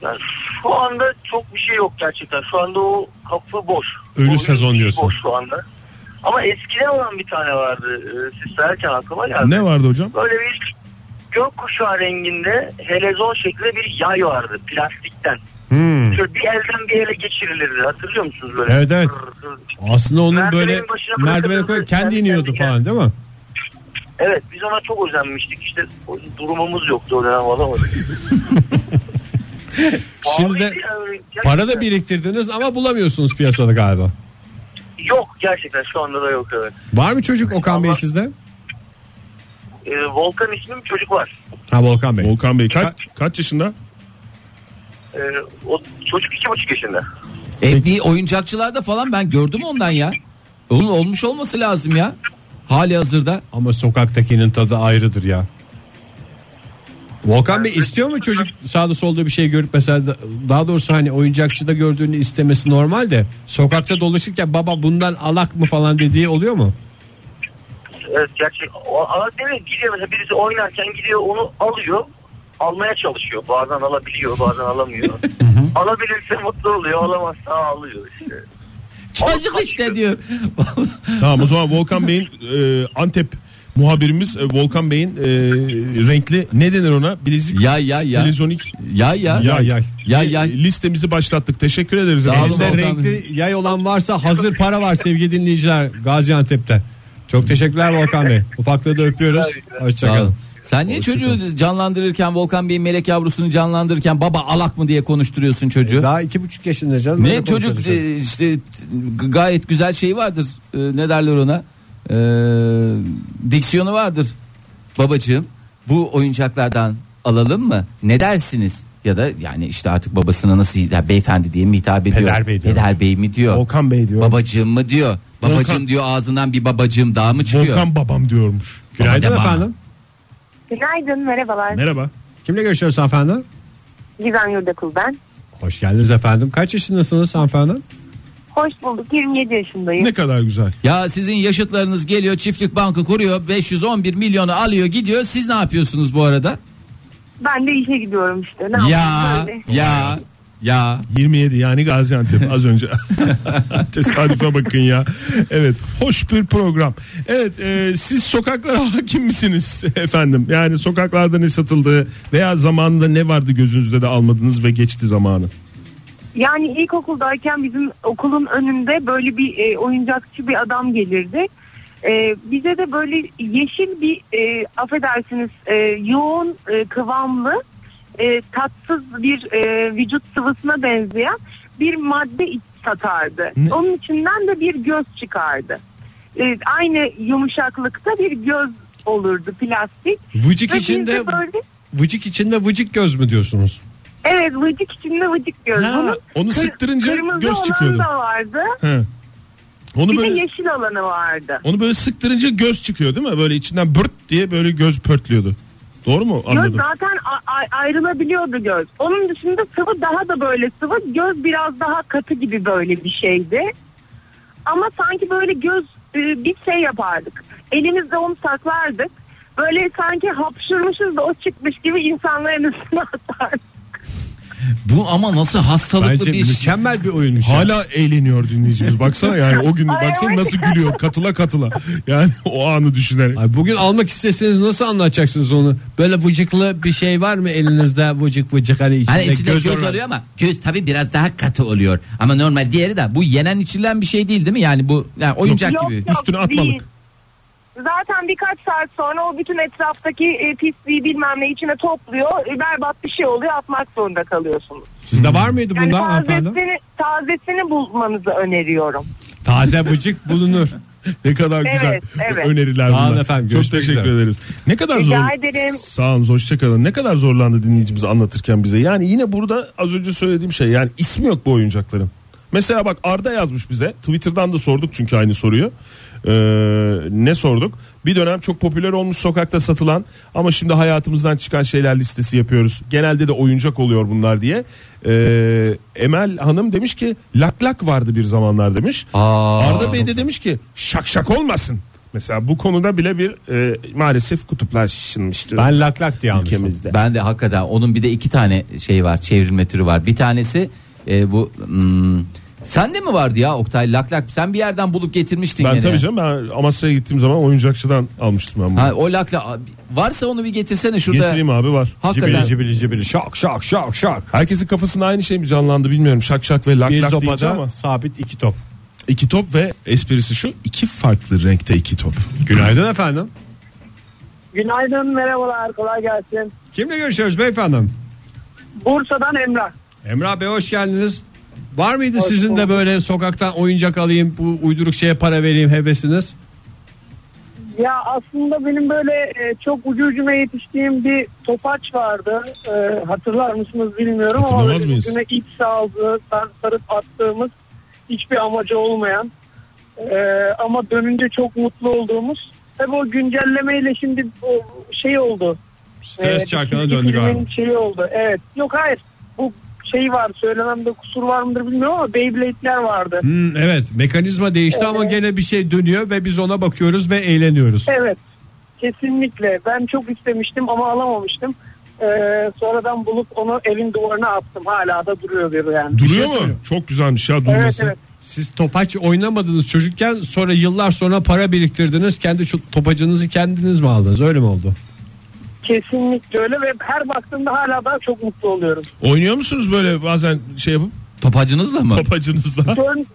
G: Yani şu anda çok bir şey yok gerçekten. Şu anda o kapı boş.
F: Ölü
G: O
F: sezon
G: hiç
F: diyorsun.
G: Boş şu anda. Ama eskiden olan bir tane vardı. Ee, Siz söylerken aklıma geldi.
F: Ne vardı hocam?
G: Böyle bir gökkuşağı renginde helezon şeklinde bir yay vardı plastikten. Şöyle bir elden bir ele geçirilirdi hatırlıyor musunuz böyle?
C: Hmm. Evet, evet. Aslında onun
G: Merdivenin
C: böyle
G: başına
C: merdivene
G: bırakıp
C: koyup kendi
G: kendi
C: iniyordu
G: kendine.
C: falan değil mi?
G: Evet biz ona çok özenmiştik işte o- durumumuz yoktu o dönem alamadık.
C: Şimdi de
G: Pahalıydı yani, gerçekten.
C: Para da biriktirdiniz ama bulamıyorsunuz piyasada galiba.
G: Yok gerçekten şu anda da yok evet.
C: Var mı çocuk Okan Bey
G: Ama-
C: sizde?
G: Ee, Volkan ismi bir çocuk var.
C: Ha Volkan Bey.
F: Volkan Bey kaç, kaç yaşında?
G: Ee, o çocuk iki buçuk yaşında.
E: E, bir oyuncakçılarda falan ben gördüm ondan ya. Onun olmuş olması lazım ya. Hali hazırda.
C: Ama sokaktakinin tadı ayrıdır ya. Volkan Bey istiyor mu çocuk sağda solda bir şey görüp mesela da- daha doğrusu hani oyuncakçıda gördüğünü istemesi normal de sokakta dolaşırken baba bundan alak mı falan dediği oluyor mu?
G: Evet gerçek. O, ama değil mi? Gidiyor mesela birisi oynarken gidiyor onu alıyor. Almaya çalışıyor. Bazen alabiliyor bazen alamıyor. Alabilirse mutlu oluyor. Alamazsa ağlıyor işte.
E: Çocuk işte diyor.
F: Tamam o zaman Volkan Bey'in e, Antep muhabirimiz e, Volkan Bey'in e, renkli ne denir ona? Bilezik,
E: ya ya ya.
F: telezonik
E: Ya ya.
C: Yay yay.
E: Ya ya.
F: listemizi başlattık. Teşekkür ederiz.
E: Sağ olun.
F: efendim.
C: Elinde
E: Volkan
C: renkli yay olan varsa hazır para var sevgili dinleyiciler Gaziantep'te. Çok teşekkürler Volkan Bey. Ufaklığı da öpüyoruz.
E: Sağ olun.
C: Hoşçakalın.
E: Sen niye çocuğu canlandırırken Volkan Bey'in melek yavrusunu canlandırırken baba alak mı diye konuşturuyorsun çocuğu?
C: Daha iki buçuk yaşında canım.
E: Ne
C: öyle
E: çocuk
C: konuşuyoruz.
E: e, işte g- gayet güzel şey vardır. E, Ne derler ona? E, diksiyonu vardır. Babacığım bu oyuncaklardan alalım mı? Ne dersiniz? Ya da yani işte artık babasına nasıl ya beyefendi diye mi hitap ediyor?
C: Peder Bey diyor.
E: Peder Bey mi diyor?
F: Volkan Bey diyor.
E: Babacığım mı diyor? Babacığım
F: Volkan-
E: diyor ağzından bir babacığım daha mı çıkıyor?
F: Volkan babam diyormuş.
C: Günaydın
E: Baba.
C: efendim.
H: Günaydın, merhabalar.
F: Merhaba.
C: Kimle görüşüyoruz hanımefendi?
H: Gizem Yurdakul ben.
C: Hoş geldiniz efendim. Kaç yaşındasınız hanımefendi?
H: Hoş bulduk, 27 yaşındayım.
F: Ne kadar güzel.
E: Ya sizin yaşıtlarınız geliyor çiftlik bankı kuruyor 511 milyonu alıyor gidiyor siz ne yapıyorsunuz bu arada?
H: Ben de işe gidiyorum işte. Ne
E: Ya
H: yapayım böyle.
E: ya ya
F: 27 yani Gaziantep az önce. Tesadüfe bakın ya. Evet hoş bir program. Evet e, siz sokaklara hakim misiniz efendim? Yani sokaklarda ne satıldı veya zamanında ne vardı gözünüzde de almadınız ve geçti zamanı.
H: Yani ilkokuldayken bizim okulun önünde böyle bir e, oyuncakçı bir adam gelirdi. E, bize de böyle yeşil bir, e, affedersiniz, e, yoğun e, kıvamlı, e, tatsız bir e, vücut sıvısına benzeyen bir madde iç- satardı. Onun içinden de bir göz çıkardı. E, aynı yumuşaklıkta bir göz olurdu plastik.
C: Vıcık
H: Ve biz
C: içinde
H: de böyle
C: vıcık içinde vıcık göz mü diyorsunuz?
I: Evet vıcık içinde vıcık diyoruz.
D: Ha,
I: Bunun
D: onu sıktırınca
I: kırmızı
D: göz
I: olan
D: çıkıyordu.
I: da vardı.
D: He. Onu
I: Bir de
D: böyle
I: yeşil olanı vardı.
D: onu böyle sıktırınca göz çıkıyor değil mi? Böyle içinden bırt diye böyle göz pörtlüyordu. Doğru mu
I: Göz
D: anladım?
I: zaten a- a- ayrılabiliyordu göz. Onun dışında sıvı daha da böyle sıvı. Göz biraz daha katı gibi böyle bir şeydi. Ama sanki böyle göz e, bir şey yapardık. Elimizde onu saklardık. Böyle sanki hapşırmışız da o çıkmış gibi insanların üstüne atardık.
J: Bu ama nasıl hastalıklı
K: Bence
J: bir şey.
K: mükemmel bir oyunmuş. ya.
D: Hala eğleniyor dinleyicimiz. Baksana yani o gün
I: Ay,
D: baksana
I: evet.
D: nasıl gülüyor katıla katıla. Yani o anı düşünerek.
C: Ay bugün almak isteseniz nasıl anlatacaksınız onu? Böyle vıcıklı bir şey var mı elinizde vıcık vıcık hani içinde,
E: Hani içinde göz,
C: olan?
E: oluyor ama göz tabi biraz daha katı oluyor. Ama normal diğeri de bu yenen içilen bir şey değil değil mi? Yani bu yani oyuncak
I: Yok,
E: gibi.
I: yok,
D: Üstüne atmalık.
I: değil. Zaten birkaç saat sonra o bütün etraftaki e, pisliği bilmem ne içine topluyor. E, berbat bir şey oluyor atmak zorunda kalıyorsunuz.
K: Sizde var mıydı
I: Yani
K: bundan hanımefendi?
I: tazesini, tazesini bulmanızı öneriyorum.
K: Taze vıcık bulunur.
D: Ne kadar güzel
I: Evet, evet.
D: öneriler
K: Sağ
D: bunlar.
K: olun efendim,
D: Çok
K: görüşmek
D: teşekkür
K: üzere.
D: ederiz. Ne kadar zor.
I: Rica ederim.
D: Sağ olun hoşçakalın. Ne kadar zorlandı dinleyicimiz anlatırken bize. Yani yine burada az önce söylediğim şey yani ismi yok bu oyuncakların. Mesela bak Arda yazmış bize. Twitter'dan da sorduk çünkü aynı soruyu. Ee, ne sorduk? Bir dönem çok popüler olmuş sokakta satılan ama şimdi hayatımızdan çıkan şeyler listesi yapıyoruz. Genelde de oyuncak oluyor bunlar diye. Ee, Emel Hanım demiş ki lak lak vardı bir zamanlar demiş. Arda Bey de demiş ki şak şak olmasın. Mesela bu konuda bile bir e, maalesef kutuplaşılmış durumda.
K: Ben lak lak diye almıştım.
E: Ben de hakikaten onun bir de iki tane şey var çevrilme türü var. Bir tanesi e, bu hmm, sende mi vardı ya Oktay lak lak sen bir yerden bulup getirmiştin
D: Ben
E: gene.
D: tabii canım ben Amasya'ya gittiğim zaman oyuncakçıdan almıştım ben bunu.
E: Ha, o lak lak varsa onu bir getirsene şurada.
D: Getireyim abi var.
E: Hakikaten.
K: Cibili cibili cibili şak şak şak şak.
D: Herkesin kafasında aynı şey mi canlandı bilmiyorum. Şak şak ve lak
K: Bir
D: lak deyince ama.
K: zopada sabit iki top.
D: İki top ve esprisi şu iki farklı renkte iki top.
K: Günaydın efendim.
H: Günaydın, merhabalar, kolay gelsin.
K: Kimle görüşüyoruz beyefendim?
H: Bursa'dan Emrah.
K: Emrah Bey hoş geldiniz.
C: Var mıydı
H: Hoş
C: sizin de
H: bulduk.
C: böyle sokaktan oyuncak alayım bu uyduruk şeye para vereyim hevesiniz?
H: Ya aslında benim böyle e, çok ucu ucuna yetiştiğim bir topaç vardı. E, hatırlar mısınız bilmiyorum ama
D: Hatırlamaz
H: böyle
D: mıyız?
H: üstüne ip saldı, sar, sarıp attığımız hiçbir amacı olmayan e, ama dönünce çok mutlu olduğumuz. Tabii o güncellemeyle şimdi o şey oldu.
K: Stres
H: Evet,
K: çarkına
H: ikinci
K: döndü
H: filmin
K: galiba.
H: şeyi oldu. Evet. Yok hayır. Bu şey var söylememde kusur var mıdır bilmiyorum ama Beyblade'ler vardı.
C: Hmm, evet mekanizma değişti ama gene bir şey dönüyor ve biz ona bakıyoruz ve eğleniyoruz.
H: Evet. Kesinlikle. Ben çok istemiştim ama alamamıştım. Ee, sonradan bulup onu evin duvarına attım. Hala da duruyor bir yani.
K: şey
D: Duruyor mu? Çok güzelmiş ya
H: Evet
D: durması.
H: evet.
C: Siz topaç oynamadınız çocukken sonra yıllar sonra para biriktirdiniz. Kendi şu topacınızı kendiniz mi aldınız öyle mi oldu?
H: Kesinlikle öyle ve her baktığımda hala daha çok mutlu oluyorum.
D: Oynuyor musunuz böyle bazen şey yapıp
E: Topacınızla mı?
D: topacınızla?
H: Dön,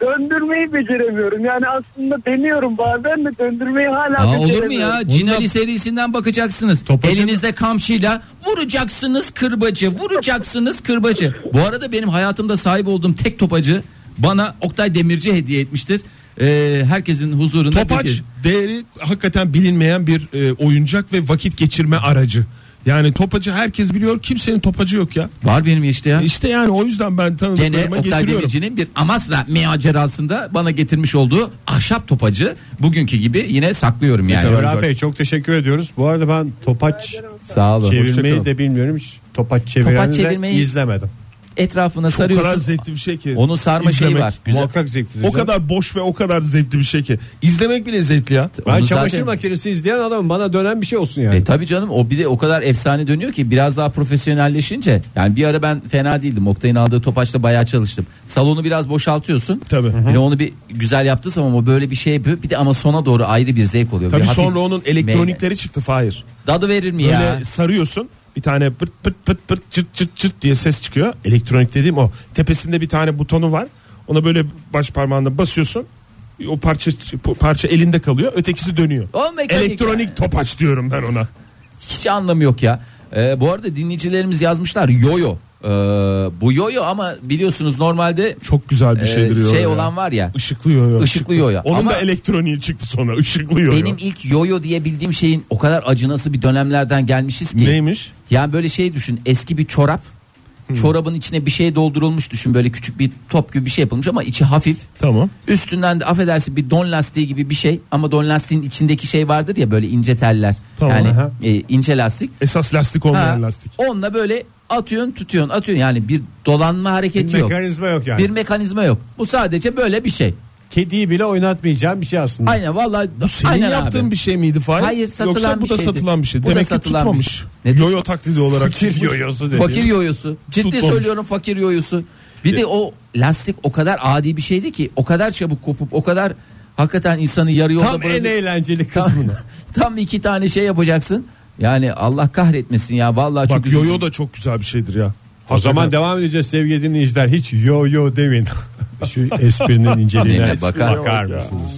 H: döndürmeyi beceremiyorum. Yani aslında deniyorum bazen de döndürmeyi hala
E: Aa,
H: beceremiyorum.
E: olur mu ya? Cinali serisinden bakacaksınız. Elinizde kamçıyla vuracaksınız kırbacı, vuracaksınız kırbacı. Bu arada benim hayatımda sahip olduğum tek topacı bana Oktay Demirci hediye etmiştir. Ee, herkesin huzurunda
D: Topaç
E: bir-
D: değeri hakikaten bilinmeyen bir e, oyuncak ve vakit geçirme aracı. Yani topacı herkes biliyor kimsenin topacı yok ya.
E: var benim işte ya.
D: İşte yani o yüzden ben
E: Gene
D: tanıdıklarıma
E: Oktay
D: getiriyorum.
E: Demirci'nin bir Amasra macerasında bana getirmiş olduğu ahşap topacı bugünkü gibi yine saklıyorum yani.
D: kadar-
K: Emrah Bey çok teşekkür ediyoruz. Bu arada ben topaç
E: Sağ olun.
K: çevirmeyi
D: Hoşçakalın.
K: de bilmiyorum. Hiç topaç çevireni de
E: çevirmeyi-
K: izlemedim.
E: Etrafına
D: O kadar
E: sarıyorsun.
D: zevkli bir şey ki.
E: Onu sarma şeyi
D: İzlemek.
E: var.
K: Muhakkak zevkli.
D: O kadar boş ve o kadar zevkli bir şey ki. İzlemek bile zevkli ya.
K: Ben
E: Onu
K: çamaşır
E: zaten-
K: makinesi izleyen adamım. Bana dönen bir şey olsun yani.
E: E tabii canım o bir de o kadar efsane dönüyor ki biraz daha profesyonelleşince yani bir ara ben fena değildim. Oktay'ın aldığı topaçla bayağı çalıştım. Salonu biraz boşaltıyorsun.
D: Tabii.
E: Yine onu bir güzel yaptığı zaman o böyle bir şey yapıyor. Bir de ama sona doğru ayrı bir zevk oluyor.
D: Tabii
E: Bir hafif
D: sonra onun elektronikleri çıktı Fahir.
E: meyve. dadı verir mi
D: Böyle
E: ya?
D: sarıyorsun bir tane pırt pırt pırt pırt çırt çırt çırt diye ses çıkıyor. Elektronik dediğim o. Tepesinde bir tane butonu var. Ona böyle baş parmağınla basıyorsun. O parça parça elinde kalıyor. Ötekisi dönüyor.
E: O mekanik
D: Elektronik topaç diyorum ben ona.
E: Hiç anlamı yok ya. Ee, bu arada dinleyicilerimiz yazmışlar yoyo. Ee, bu yoyo ama biliyorsunuz normalde
D: Çok güzel bir
E: e,
D: şeydir yo
E: şey
D: ya.
E: olan var ya.
D: Işıklıyor yo.
E: Işıklı yo yo.
D: Onun
E: Ama-
D: da elektroniği çıktı sonra. Işıklıyor
E: Benim ilk yoyo diye bildiğim şeyin o kadar acınası bir dönemlerden gelmişiz ki.
D: Neymiş?
E: Yani böyle şey düşün eski bir çorap
F: Hmm.
E: Çorabın içine bir şey doldurulmuş düşün böyle küçük bir top gibi bir şey yapılmış ama içi hafif.
F: Tamam.
E: Üstünden de affedersin bir don lastiği gibi bir şey ama don lastiğin içindeki şey vardır ya böyle ince teller.
F: Tamam,
E: yani
F: aha.
E: e, ince lastik.
F: Esas lastik olmayan
E: Ha,
F: lastik.
E: Onunla böyle atıyorsun tutuyorsun atıyorsun yani bir dolanma hareketi
C: Bir
E: şey yok.
C: mekanizma yok yani.
E: Bir mekanizma yok. Bu sadece böyle bir şey.
C: Kediyi bile oynatmayacağım bir şey aslında.
E: Aynen vallahi
F: Senin
E: aynen
F: yaptığın
E: abi.
F: bir şey miydi Fahir?
E: Hayır, satılan
F: Yoksa bu
E: bir
F: da
E: şeydi.
F: satılan bir şey.
E: Bu da
F: Demek ki
E: satılan bir
F: tutmamış.
E: şey. Ne-
F: Yoyo taklidi olarak.
C: Fakir yoyosu dedi.
E: Fakir yoyosu. Ciddi
F: Tutmamış.
E: söylüyorum fakir yoyosu. Bir de o lastik o kadar adi bir şeydi ki o kadar çabuk kopup o kadar hakikaten insanı yarı yolda
C: Tam en
E: bırakıp-
C: eğlenceli kısmını.
E: Tam iki tane şey yapacaksın. Yani Allah kahretmesin ya vallahi çok
F: Bak
E: üzüldüm.
F: yoyo da çok güzel bir şeydir ya.
C: O zaman devam edeceğiz sevgili dinleyiciler. Hiç yo yo demin. Şu esprinin inceliğine
E: Yine bakar.
C: bakar mısınız?